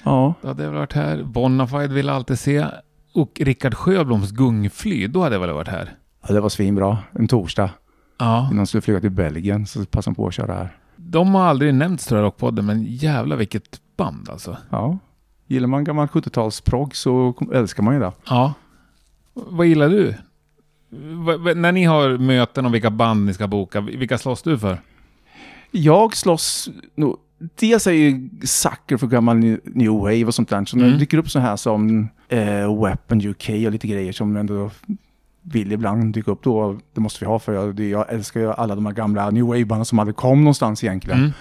Ja, Då hade jag väl varit här. Bonafide vill jag alltid se. Och Rickard Sjöbloms Gungfly. Då hade jag väl varit här. ja, det var svinbra. En torsdag Ja, innan jag skulle flyga till Belgien så passade han på att köra här. de har aldrig nämnts tror jag, Rockpodden, men jävla vilket band alltså. Ja. Gillar man gammal 70-talsprogg så kom- älskar man ju det. Ja. Vad gillar du? Va- va- när ni har möten om vilka band ni ska boka, vilka slåss du för? Jag slåss nog... Dels är jag ju sucker för gammal new new wave och sånt där. Så när Mm. det dyker upp så här som eh, Weapon UK och lite grejer som ändå vill ibland dyka upp då. Det måste vi ha för jag, det- jag älskar ju alla de här gamla new wave-banden som aldrig kom någonstans egentligen. Mm.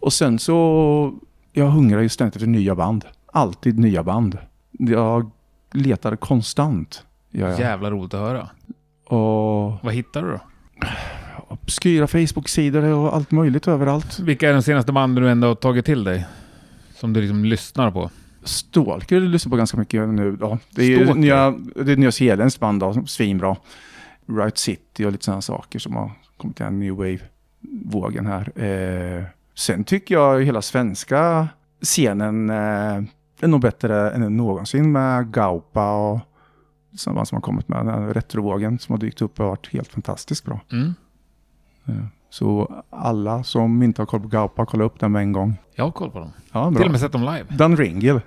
Och sen så... Jag hungrar ju ständigt efter nya band. Alltid nya band. Jag letar konstant. gör jag. Jävla roligt att höra. Och Vad hittar du då? obskyra Facebook-sidor och allt möjligt överallt. Vilka är de senaste banden du ändå har tagit till dig? Som du liksom lyssnar på? Stalker lyssnar på ganska mycket nu då. Det är ju Stalker? nya, det är nyzeeländskt band då, svinbra. Right City och lite sådana saker som har kommit till den new wave-vågen här. Eh, sen tycker jag hela svenska scenen eh, är nog bättre än någonsin med Gaupa och sådana band som har kommit med. Den här retrovågen som har dykt upp har varit helt fantastiskt bra. Eh, Mm. Så alla som inte har koll på Gaupa, kolla upp den med en gång. Jag har koll på dem. Ja, Till och bra. med sett dem live. Dan Ringel.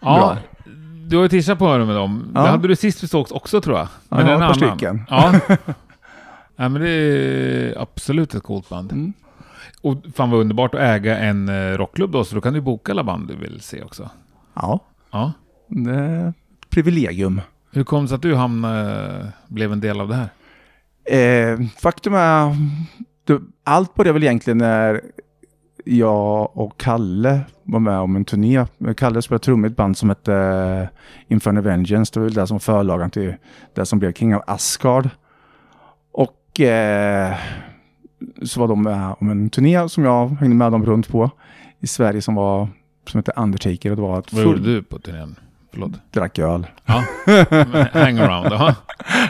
Ja. Du har ju tishat på öronen med dem. Ja. Det hade du sist vi sågs också tror jag. Ja, Men jag en har ett par annan. stycken. Ja. Nej men det är absolut ett coolt band. Mm. Och fan vad underbart att äga en eh, rockklubb då, så då kan du boka alla band du vill se också. Ja. Ja. Det är ett privilegium. Hur kom det sig att du hamnade, blev en del av det här? Eh, faktum är, du, allt började väl egentligen när jag och Kalle var med om en turné. Kalle spelade trummor i ett band som hette Inferno Vengeance. Det var väl det som förlagan till det som blev King of Asgard. Och eh, så var de med om en turné som jag hängde med dem runt på i Sverige som var som hette Undertaker och det var ett Vad gjorde full du på turnén? Förlåt. drack öl. Ja. Hangaround, aha.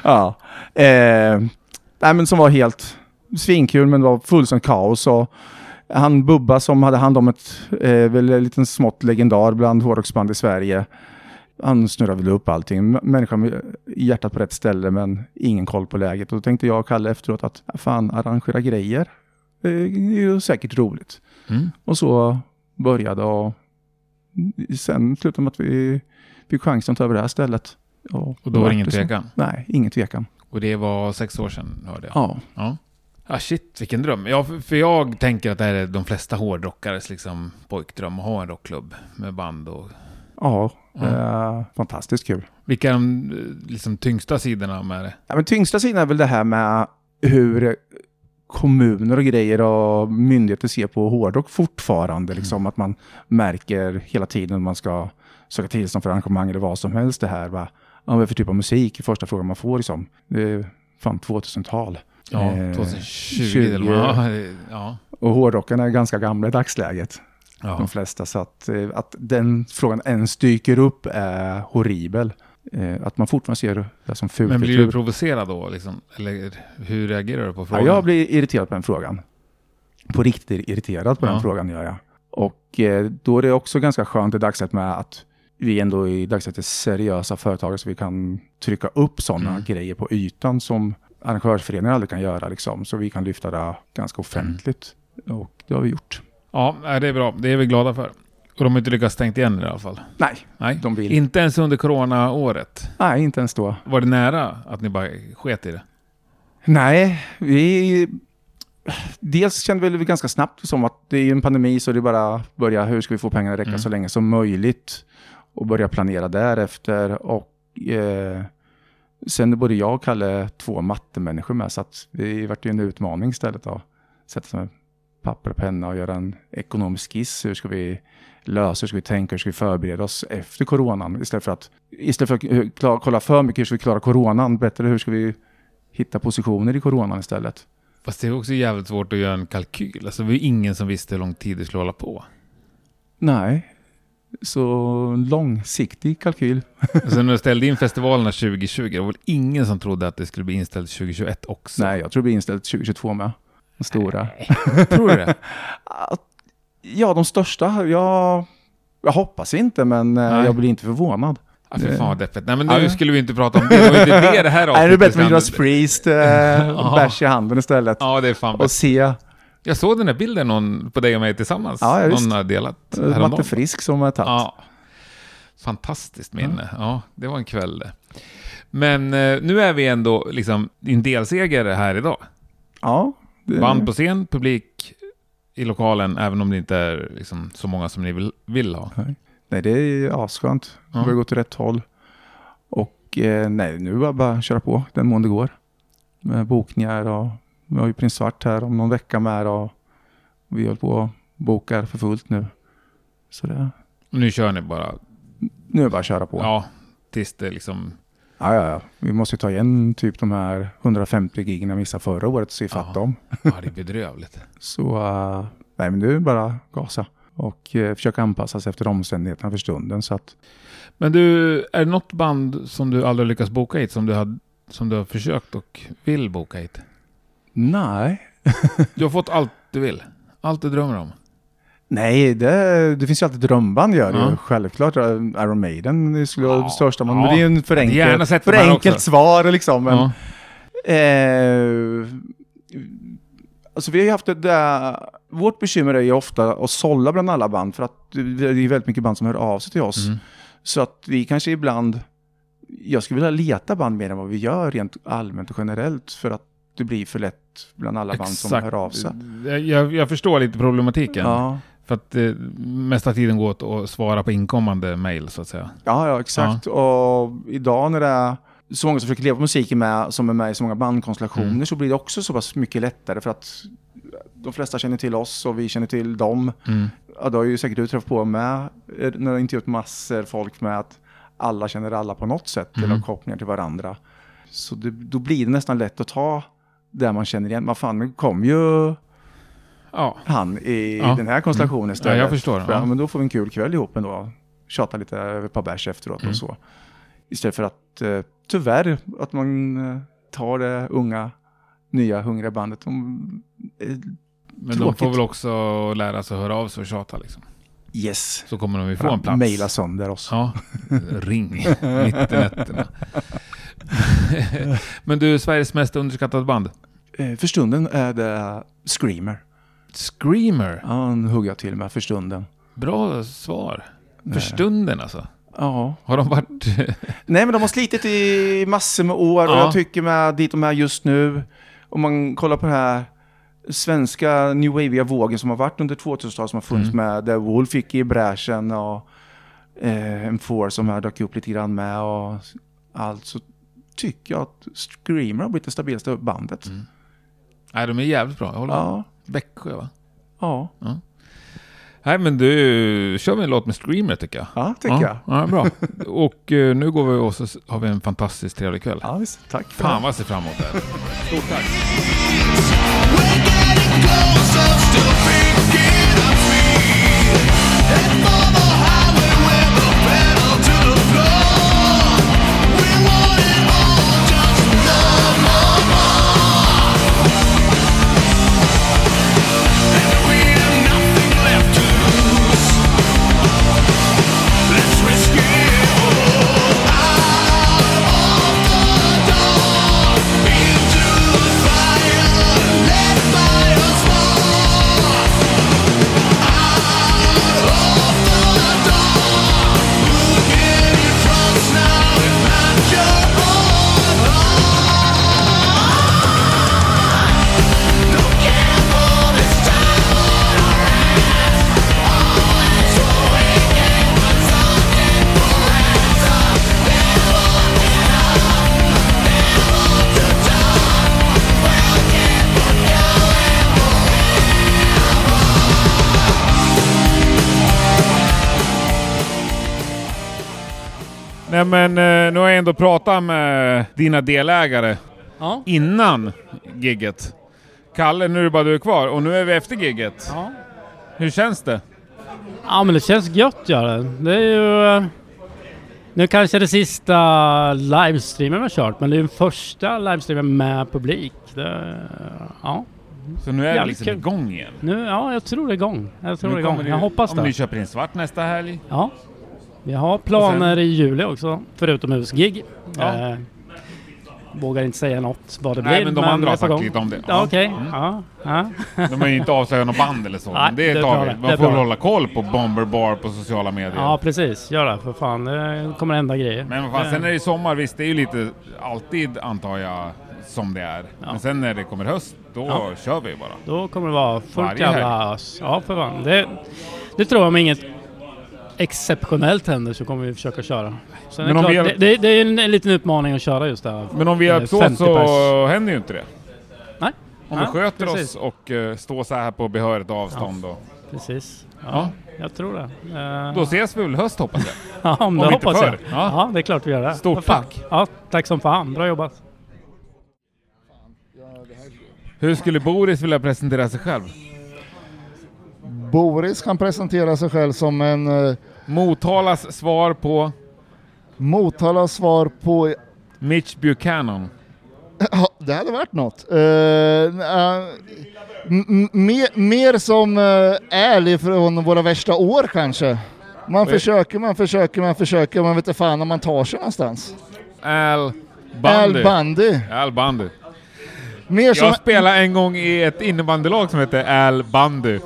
Ja. Eh, nej, men som var helt svinkul, men det var fullständigt kaos. Och han Bubba som hade hand om ett eh, väl en liten smått legendar bland hårdrocksband i Sverige. Han snurrade väl upp allting. M- Människan med hjärtat på rätt ställe men ingen koll på läget. Och då tänkte jag och Kalle efteråt att "Ah, fan, arrangera grejer eh, är ju säkert roligt. Mm. Och så började och sen slutade med att vi fick chansen att ta över det här stället. Och då var det ingen så. tvekan. Nej, ingen tvekan. Och det var sex år sedan, hörde jag. Ja. Ja. Ah shit, vilken dröm. Ja, för- för jag tänker att det här är de flesta hårdrockares liksom, pojkdröm att ha en rockklubb med band och... Ja, Ja. eh, fantastiskt kul. Vilka är de eh, liksom, tyngsta sidorna med det? Ja, men tyngsta sidan är väl det här med hur kommuner och grejer och myndigheter ser på hårdrock fortfarande. Mm. Liksom, att man märker hela tiden när man ska söka tillstånd för arrangemang eller vad som helst det här. Va? Ja, vad är det för typ av musik? Första frågan man får liksom. Det är fan 2000-tal. Ja, Eh, 2020 20. eller vad? Ja, det- Ja. Och hårdrockarna är ganska gamla i dagsläget. ja. de flesta. Så att, eh, att den frågan ens dyker upp är horribel. Eh, Att man fortfarande ser det som Men blir du fulkultur. provocerad då? Liksom? Eller hur reagerar du på Ja, frågan? jag blir irriterad på den frågan. På riktigt irriterad på Ja. den frågan gör jag. Och eh, då är det också ganska skönt i dagsläget med att vi ändå i dagsläget är seriösa företagare så vi kan trycka upp sådana Mm. grejer på ytan som arrangörsföreningar aldrig kan göra. Liksom. Så vi kan lyfta det Mm. ganska offentligt. Och det har vi gjort. Ja, nej, det är bra. Det är vi glada för. Och de har inte lyckats stängt igen i alla fall. Nej, Nej. de vill. Inte ens under coronaåret. Nej, inte ens då. Var det nära att ni bara sket i det? Nej, vi... Dels kände vi väl ganska snabbt som att det är ju en pandemi så det är bara att börja, hur ska vi få pengarna att räcka så länge som möjligt? Och börja planera därefter. Och eh, sen är både jag och Kalle två mattemänniskor med så att det vart ju en utmaning istället att sätta sig med papper och penna och göra en ekonomisk skiss. Hur ska vi lösa, hur ska vi tänka, hur ska vi förbereda oss efter coronan? Istället för att, istället för att eh, klara, kolla för mycket, hur ska vi klara coronan? Bättre, hur ska vi hitta positioner i coronan istället. Fast det är också jävligt svårt att göra en kalkyl. Alltså, det var ju ingen som visste hur lång tid det skulle hålla på. Nej, så långsiktig kalkyl. Alltså, när du ställde in festivalerna 2020, det var väl ingen som trodde att det skulle bli inställt 2021 också? Nej, jag tror det blir inställt 2022 med. De stora. Tror du det? Ja, de största. Jag, jag hoppas inte, men eh, Nej. jag blir inte förvånad. Ja, fy fan vad deppigt. Nej, men nu Ja. skulle vi inte prata om det. Det var ju inte det det här Nej, det är bättre med handlade- Judas Priest eh, och bärs i handen istället. Ja, det är fan Och bäst. se eh, Jag såg den här bilden någon, på dig och mig tillsammans. Ja, ja, någon visst. har delat Matte Frisk som har tagit. Ja. Fantastiskt minne. Ja, det var en kväll det. Men eh, nu är vi ändå liksom i en delseger här idag. Ja, det- Band på scen, publik i lokalen, även om det inte är liksom, så många som ni vill, vill ha. Nej, det är asskönt. Det börjar gå till rätt håll. Och eh, nej, nu är det bara att köra på den mån det går. Med bokningar och vi har ju Prins Svart här om någon vecka med och vi håller på och bokar för fullt nu. Så det, Nu kör ni bara, nu är det bara att köra på. Ja. ja, tills det liksom... Ja, ja, Vi måste ju ta igen typ de här 150 gigen jag missade förra året och se Ja. ifatt dem. Ja, det är bedrövligt. Så eh, nej, men nu är det bara att gasa och eh, försöka anpassa sig efter omständigheterna för stunden. Så att Men du, är det något band som du aldrig har lyckats boka hit, som du har, som du har försökt och vill boka hit? nej, Du har fått allt du vill. Allt du drömmer om. Nej, det, det finns ju alltid drömband gör det Ja. ju. Självklart. eh, Iron Maiden det skulle vara Ja. det största. Man, Ja. Men det är ju en för, enkel, Gärna sett för de här enkelt också. svar liksom. Men, ja. eh, alltså vi har ju haft det där, vårt bekymmer är ju ofta att sålla bland alla band. För att det är ju väldigt mycket band som hör av sig till oss. Mm. Så att vi kanske ibland, jag skulle vilja leta band mer än vad vi gör rent allmänt och generellt. För att det blir för lätt bland alla band som hör av sig. Jag- Eh, Jag, jag förstår lite problematiken. Ja. För att eh, mesta tiden går åt att svara på inkommande mejl så att säga. Ja, ja exakt. Och idag när det är så många som försöker leva på musiken med, som är med i så många bandkonstellationer Mm. så blir det också så pass mycket lättare för att de flesta känner till oss och vi känner till dem. Mm. Ja, det har ju säkert du träffat på med eh, när du har intervjuat massor folk med att alla känner alla på något sätt Mm. eller har kopplingar till varandra. Så det, då blir det nästan lätt att ta där man känner igen. Vad fan, nu kom ju Ja. han i Ja. Mm. den här konstellationen istället. Ja, jag förstår. För, Ja. ja. men då får vi en kul kväll ihop ändå. Tjata lite över ett par bärs efteråt Mm. och så. Istället för att eh, tyvärr att man eh, tar det unga, nya, hungriga bandet. De, eh, Men Tråkigt. de får väl också lära sig att höra av sig och tjata liksom. yes, Så kommer de ju få en plats. mejla sönder oss. Ja, ring mitt i nätterna. Men du, Sveriges mest underskattade band? Eh, för stunden är det Screamer. Screamer. Han hugger jag till med för stunden. Bra svar. För stunden alltså. Ja. Har de varit... Nej, men de har slitit i massor med år och Ja. jag tycker med dit de är just nu, om man kollar på den här svenska new wavea vågen som har varit under 2000-talet som har funnits Mm. med, där Wolf gick i bräschen och eh, en Four som här dök upp lite grann med och allt, så tycker jag att Screamer har blivit det stabilaste bandet. Mm. Nej, de är jävligt bra. Jag håller med. Ja, Växjö va? ja, Nej, men du, kör vi en låt med Screamer tycker jag. ja, tycker jag. ja, Ja, bra. Och eh, nu går vi och så har vi en fantastiskt trevlig kväll. Ja, visst. Tack för Fan vad jag ser fram emot det här. Into the Nej men eh, nu har jag ändå pratat med dina delägare Ja. innan gigget. Kalle, nu är det bara du kvar och nu är vi efter gigget. Ja. Hur känns det? Ja men det känns gött gör det. Det är ju... eh, Nu kanske det sista livestreamen vi har kört, men det är ju den första livestreamen med publik. Det, ja, Så nu är det Jävligt liksom kul. igång igen. nu, ja, jag tror det är igång. Jag tror nu det är igång. kommer Jag hoppas om det. ni köper in svart nästa helg. Ja. Vi har planer i juli också, för utomhusgig. Ja. Eh, vågar inte säga något vad det blir. Nej men de andra det är har på sagt gång. lite om det. Ja, Okej, ja. ja. De har ju inte avslöjat något band eller så. Nej, men det det är tar bra vi. det. Det Man är får väl bra. hålla koll på Bomber Bar på sociala medier. Ja precis, gör det för fan. Det kommer hända grejer. Men vad fan, Eh, sen är det sommar. Visst, det är ju lite alltid antar jag som det är. Men sen när det kommer höst, då Ja. kör vi bara. Då kommer det vara fullt Varje helg. jävla ös. Ja för fan. Det, det tror jag om inget exceptionellt händer så kommer vi försöka köra. Sen är Men det, om klart, vi det, det, det är en, en liten utmaning att köra just där. Men om vi Eh, hjälps åt 50 så pers. händer ju inte det. Nej. Om Nej, vi sköter precis. oss och eh, står så här på behörigt avstånd. Och, Precis. Ja, Ja. jag tror det. Eh, då ses vi väl höst hoppas jag. Ja, om det Om inte hoppas jag. förr. Ja. Ja. det är klart vi gör det. Stort Vad fan. tack. Ja, tack som fan. Bra jobbat. Hur skulle Boris vilja presentera sig själv? Boris kan presentera sig själv som en eh, Motalas svar på Motala svar på... Mitch Buchanan. Ja, det hade varit något. Eh, eh, m- m- mer, mer som eh, ärlig från våra värsta år kanske. Man Eh. försöker, man försöker, man försöker, man vet inte fan om man tar sig någonstans. Al Al Bundy. Bundy. Al Bundy. Mer som, Jag spelade en gång i ett innebandylag som hette Al Bundy.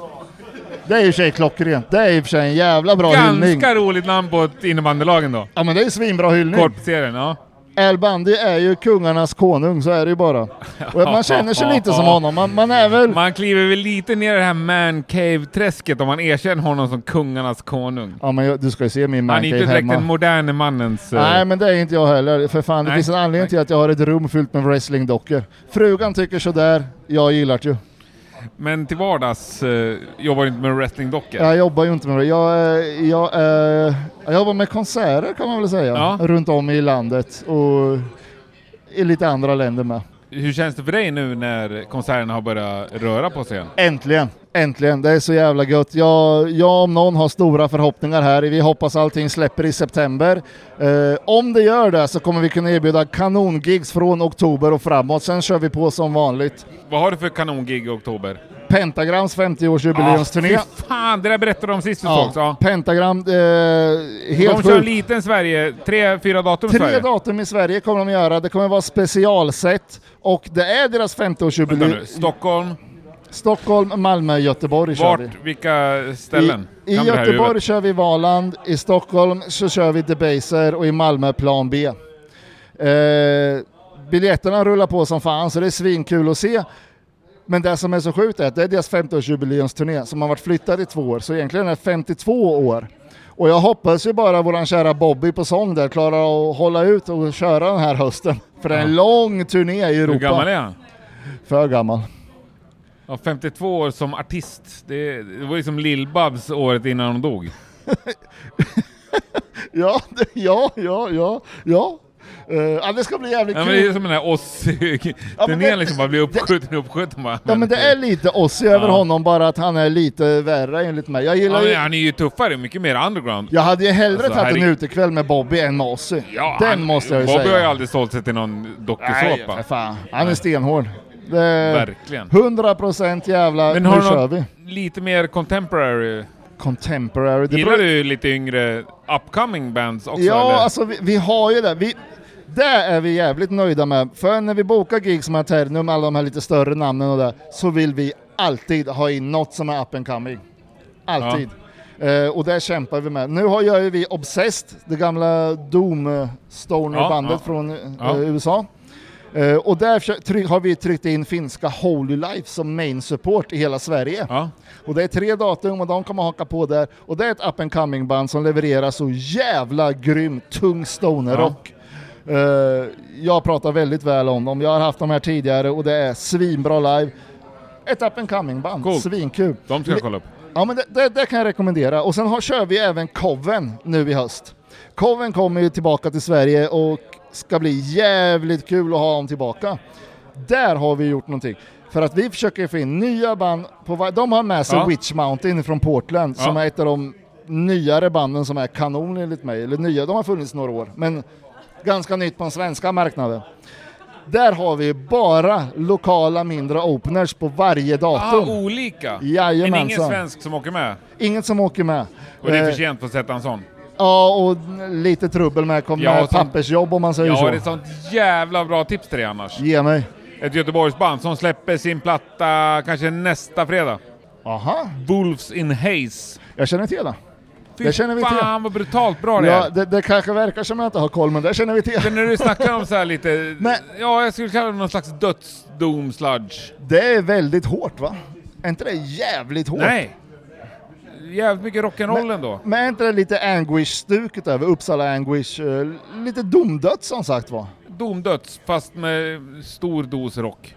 det är i och för sig klockrent. Det är i och för sig en jävla bra hyllning. Ganska roligt namn på ett innebandylag ändå. Ja men det är svinbra hyllning. Korpserien, ja. Al Bundy är ju kungarnas konung, så är det ju bara. Och man känner sig lite som honom. Man, man är väl... Man kliver väl lite ner i det här man cave-träsket om man erkänner honom som kungarnas konung. Ja men jag, du ska ju se min Han är inte mancave direkt den hemma. moderne mannens... eh, Nej men det är inte jag heller. För fan, det Nej. finns en anledning till att jag har ett rum fyllt med wrestlingdockor. Frugan tycker sådär, jag gillar det ju. Men till vardags eh, jobbar du inte med wrestlingdockor. Jag jobbar ju inte med det. Jag, eh, jag, eh, jag jobbar med konserter kan man väl säga. Ja. Runt om i landet och i lite andra länder med. Hur känns det för dig nu när konserterna har börjat röra på sig igen? Äntligen! Äntligen, det är så jävla gött. Jag, jag om någon har stora förhoppningar här. Vi hoppas allting släpper i september. Eh, om det gör det så kommer vi kunna erbjuda kanongigs från oktober och framåt. Sen kör vi på som vanligt. Vad har du för kanongig i oktober? Pentagrams 50-årsjubileumsturné. Ah, fy fan, det där berättade de sist vi Ja, sågs. Ja. Pentagram, eh, De helt kör en sjukt. liten Sverige, tre, fyra datum i Tre Sverige. datum i Sverige kommer de göra. Det kommer vara specialset och det är deras Vänta nu, 50-årsjubileum. Stockholm, Stockholm, Malmö, Göteborg kör vi. vart, vilka ställen? I, i Kan du det här i Göteborg huvudet? kör vi Valand, i Stockholm så kör vi Debaser och i Malmö Plan B. Eh, biljetterna rullar på som fan så det är svinkul att se. Men det som är så sjukt är att det är deras 50-årsjubileumsturné som har varit flyttad i två år, så egentligen är det 52 år. Och jag hoppas ju bara våran kära Bobby på sång där klarar att hålla ut och köra den här hösten. För det är en lång turné i Europa. Hur gammal är han? För gammal. Ja, 52 år som artist. Det, det var liksom Lill-Babs året innan hon dog. Ja, det, ja, ja, ja, ja. Eh, ja, det ska bli jävligt Ja, men kul. det är som den här Ozzy... Ja, men Turnén det- liksom bara blir uppskjuten och uppskjuten bara. Ja men det är lite Ozzy över honom, bara att han är lite värre enligt mig. Jag Ja, gillar men ju... han är ju tuffare, mycket mer underground. Jag hade ju hellre Alltså, tagit en herregud. utekväll med Bobby än med Ozzy. Ja, Den han- måste jag ju Bobby har ju säga. aldrig sålt sig till någon Nej, dokusåpa. för fan. Han är stenhård. Det är Verkligen. 100% jävla... Men nu har kör du vi. något lite mer contemporary? Contemporary. Det Gillar beror- du lite yngre upcoming bands också Ja, eller? alltså vi, vi har ju det. Vi, det är vi jävligt nöjda med. För när vi bokar gig som Aternum, alla de här lite större namnen och det, så vill vi alltid ha in något som är up and coming. Alltid. Eh, och det kämpar vi med. Nu har gör ju vi Obsessed, det gamla Doom-stoner-bandet Ja, ja. från eh, Ja. USA. Eh, och där försö- try- har vi tryckt in finska Holy Life som main support i hela Sverige. Ja. Och det är tre datum och de kommer haka på där. Och det är ett up and coming band som levererar så jävla grym tung stonerrock. Eh, jag pratar väldigt väl om dem. Jag har haft dem här tidigare och det är svinbra live. Ett up and coming band, Coolt. svinkul. De ska jag kolla upp. Ja men det, det, det kan jag rekommendera. Och sen har, kör vi även coven nu i höst. Coven kommer ju tillbaka till Sverige och ska bli jävligt kul att ha dem tillbaka. Där har vi gjort någonting. För att vi försöker få in nya band. På, va- de har med sig Ja. Witch Mountain från Portland som Ja. är ett av de nyare banden som är kanon enligt mig. Eller nya, de har funnits några år. Men ganska nytt på den svenska marknaden. Där har vi bara lokala mindre openers på varje Ah, datum. olika! Men Jajamensan. ingen svensk som åker med. Ingen som åker med. Och det är Eh, för sent att sätta en sån. Ja, och lite trubbel med, kom Ja, med som- pappersjobb om man säger Jag så. har ett sånt jävla bra tips till dig annars. Ge mig. Ett Göteborgsband som släpper sin platta kanske nästa fredag. Aha, Wolves in Haze. jag känner till det. Fy Det känner vi till. fan vad brutalt bra det Ja, är! det, det kanske verkar som att jag inte har koll, men det känner vi till. Men när du snackar om så här lite... Men- Ja, jag skulle kalla det någon slags dödsdoom-sludge. Det är väldigt hårt va? Är inte det jävligt hårt? Nej! Jävligt mycket rock'n'roll ändå. Men är inte det lite anguish-stuket över Uppsala anguish? eh, Lite domdött som sagt va? Domdöds, fast med stor dos rock.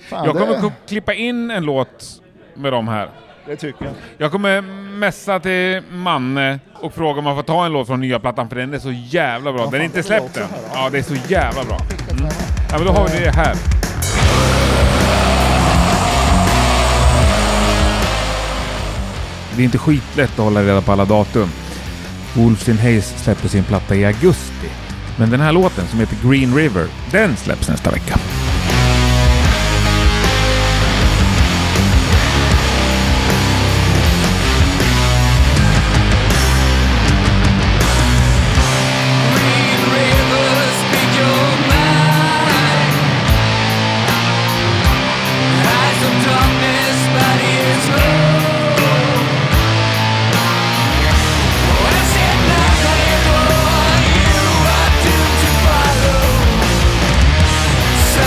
Fan, Jag kommer det, ku- klippa in en låt med dem här. det tycker jag. Jag kommer messa till Manne och fråga om man får ta en låt från nya plattan för den är så jävla bra. Den är inte släppt än. Ja, det är så jävla bra. Mm. Ja, men då har vi det här. Det är inte skitlätt att hålla reda på alla datum. Wolves in Haze släpper sin platta i augusti. Men den här låten som heter Green River, den släpps nästa vecka.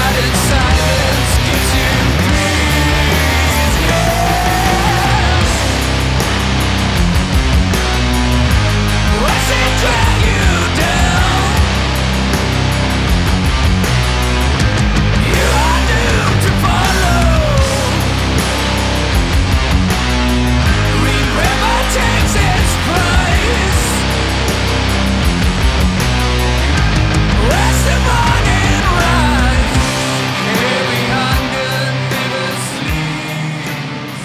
Silence gives you What's it drag you down? You are doomed to follow. Green River takes its place. Where's the morning rise? Here we hunger, never sleeps.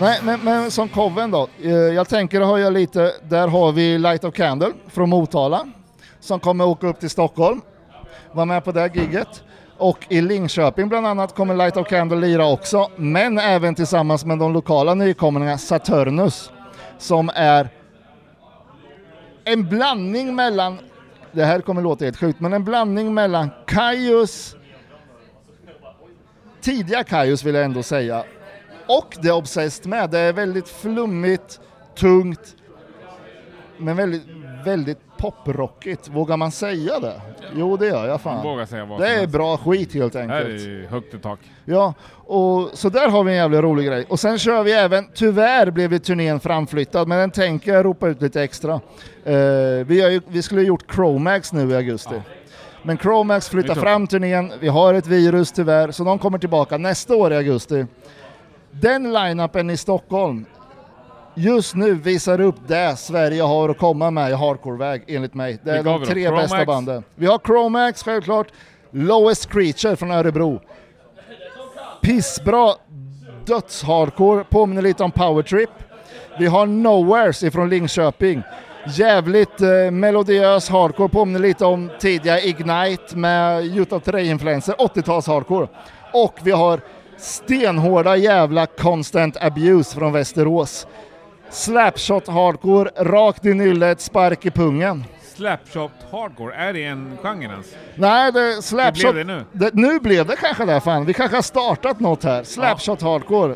Nej, men, men som coven då. Eh, Jag tänker höja lite. Där har vi Light of Candle från Motala som kommer åka upp till Stockholm. Var med på det här gigget. Och i Linköping bland annat kommer Light of Candle lira också, men även tillsammans med de lokala nykomlingarna Saturnus som är en blandning mellan, det här kommer låta helt sjukt, men en blandning mellan Kaius, tidiga Kaius vill jag ändå säga, och det är Obsessed med. Det är väldigt flummigt, tungt, men väldigt, väldigt poprockigt. Vågar man säga det? Jo, det gör jag fan. Våga säga vad Det som är helst. bra skit helt Här enkelt. är högt i tak. Ja, och så där har vi en jävligt rolig grej. Och sen kör vi även, tyvärr blev ju turnén framflyttad, men den tänker jag ropa ut lite extra. Eh, vi, har ju, vi skulle ha gjort Chromax nu i augusti. Men Chromax flyttar Det är fram turnén, vi har ett virus tyvärr, så de kommer tillbaka nästa år i augusti. Den line-upen i Stockholm just nu visar upp det Sverige har att komma med i hardcore-väg, enligt mig. Det är Vilka har de vi då? tre bästa Chromax? banden. Vi har Chromax självklart, Lowest Creature från Örebro. Pissbra dödshardcore, påminner lite om Power Trip. Vi har Nowheres ifrån Linköping. Jävligt eh, melodiös hardcore, påminner lite om tidiga Ignite med Utah Terrey-influenser, 80-tals hardcore. Och vi har stenhårda jävla Constant Abuse från Västerås. Slapshot hardcore, rakt i nyllet, spark i pungen. Slapshot hardcore, är det en genre alltså. ens? Nej, det, slapshot... det nu? nu blev det kanske det fan. Vi kanske har startat något här. Slapshot hardcore.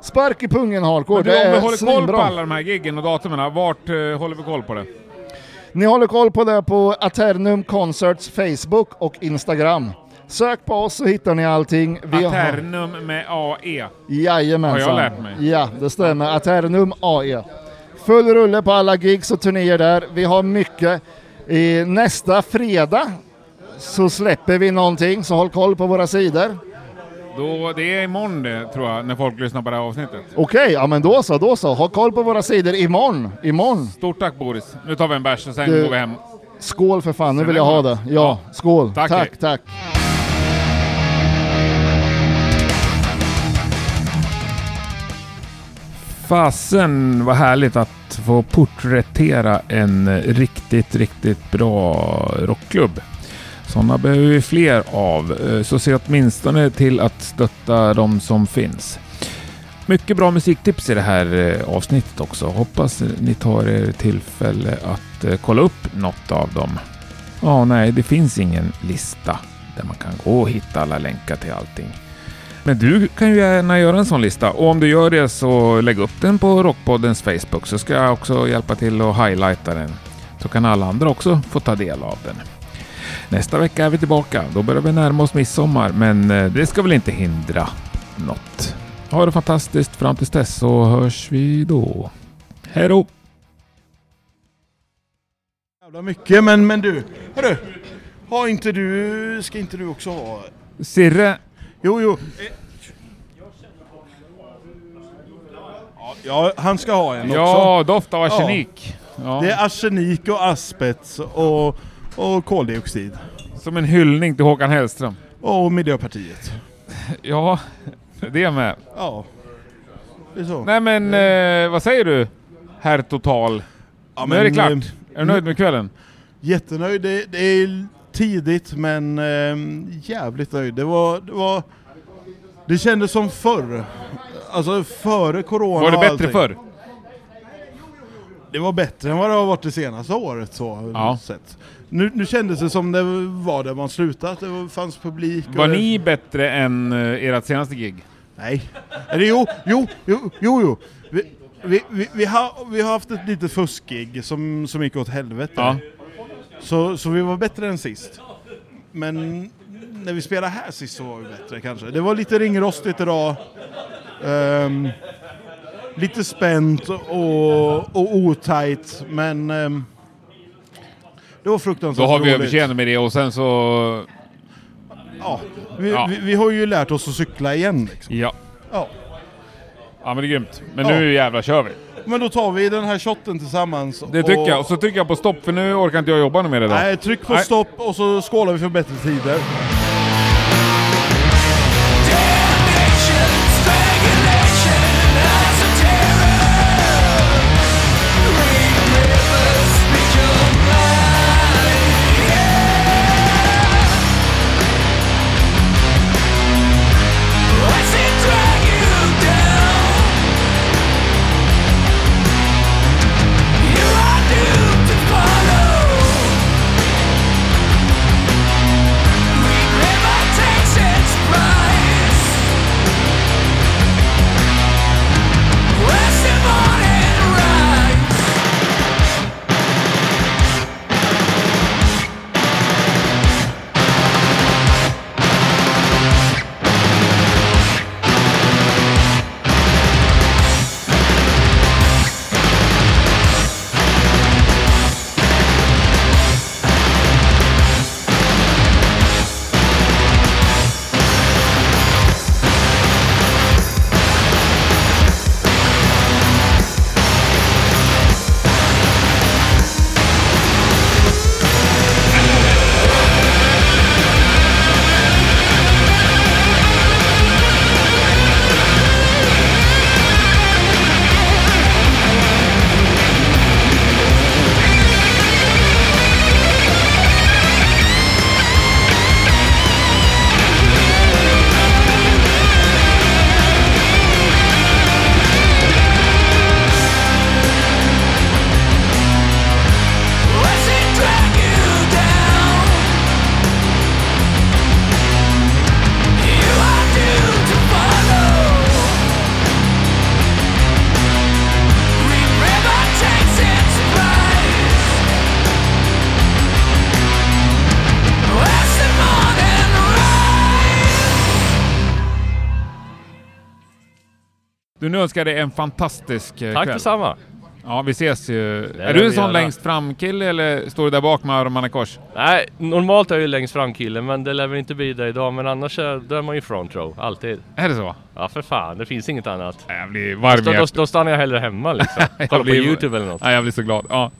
Spark i pungen hardcore. Men du, om det vi är håller koll på svinbra. alla de här giggen och datumen, vart eh, håller vi koll på det? Ni håller koll på det på Aternum Concerts Facebook och Instagram. Sök på oss så hittar ni allting. Vi har- Aternum med E. AE. Jajamensan. Har jag lärt mig? Ja, det stämmer. Aternum AE. Full rulle på alla gigs och turnéer där. Vi har mycket. I nästa fredag så släpper vi någonting, så håll koll på våra sidor. Då, det är imorgon det, tror jag, när folk lyssnar på det här avsnittet. Okej, ja men då så, då så. Ha koll på våra sidor imorgon. Imorgon. Stort tack Boris. Nu tar vi en bärs och sen Du- går vi hem. Skål för fan, nu vill jag ha det. Ja, skål. Tack, hej. tack. tack. Fasen vad härligt att få porträttera en eh, riktigt, riktigt bra rockklubb. Sådana behöver vi fler av, eh, så se åtminstone till att stötta de som finns. Mycket bra musiktips i det här eh, avsnittet också. Hoppas eh, ni tar er tillfälle att eh, kolla upp något av dem. Ja, nej, det finns ingen lista där man kan gå och hitta alla länkar till allting. Men du kan ju gärna göra en sån lista och om du gör det så lägg upp den på Rockpoddens Facebook så ska jag också hjälpa till och highlighta den. Så kan alla andra också få ta del av den. Nästa vecka är vi tillbaka. Då börjar vi närma oss midsommar men eh, det ska väl inte hindra något. Ha det fantastiskt fram tills dess så hörs vi då. Hej då! Jävla mycket, men, men du. Hörru. Har inte du... Ska inte du också ha... Sirre, Jo, jo. Ja, han ska ha en också. ja doft av arsenik. Ja. Det är arsenik och asbest och, och koldioxid. Som en hyllning till Håkan Hellström. Och Miljöpartiet. Ja, det med. Ja. Det är så. Nej men eh, vad säger du? Herr Total. ja, nu är det klart. eh, Är du nöjd med kvällen? Jättenöjd. Det, det är tidigt men eh, jävligt nöjd. Det var, det var... Det kändes som förr. Alltså före corona Var det och bättre allting. förr? Det var bättre än vad det har varit det senaste året så Ja. sett. Nu, nu kändes det som det var där man slutat. Det var- fanns publik. och Var det- ni bättre än eh, ert senaste gig? Nej. Eller jo, jo, jo, jo. jo. Vi, vi, vi, vi, har, vi har haft ett litet fuskgig som, som gick åt helvete. Ja. Så, så vi var bättre än sist. Men när vi spelade här sist så var vi bättre kanske. Det var lite ringrostigt idag. Ehm, lite spänt och, och otajt men ehm, det var fruktansvärt Då har vi roligt. överseende med det och sen så... Ja, vi, Ja. Vi, vi har ju lärt oss att cykla igen. Liksom. Ja. Ja. Ja men det är grymt. Men Ja. nu jävlar kör vi. Men då tar vi den här shotten tillsammans. Det tycker jag. Och så trycker jag på stopp för nu orkar inte jag jobba mer idag. Nej, tryck på Nej. stopp och så skålar vi för bättre tider. Du nu önskar jag dig en fantastisk eh, Tack kväll. detsamma. eh, Ja, vi ses ju. är lär du en vi sån göra. längst fram-kille eller står du där bak med armarna i kors? Nej, normalt är jag ju längst fram killen men det lär väl inte bli det idag. Men annars är, då är man ju front row, alltid. Är det så? Ja för fan, det finns inget annat. Nej, Jag blir varm i Då, då, hjärtat. då stannar jag hellre hemma liksom. Kolla på blir- Youtube eller något. Nej, Jag blir så glad. Ja.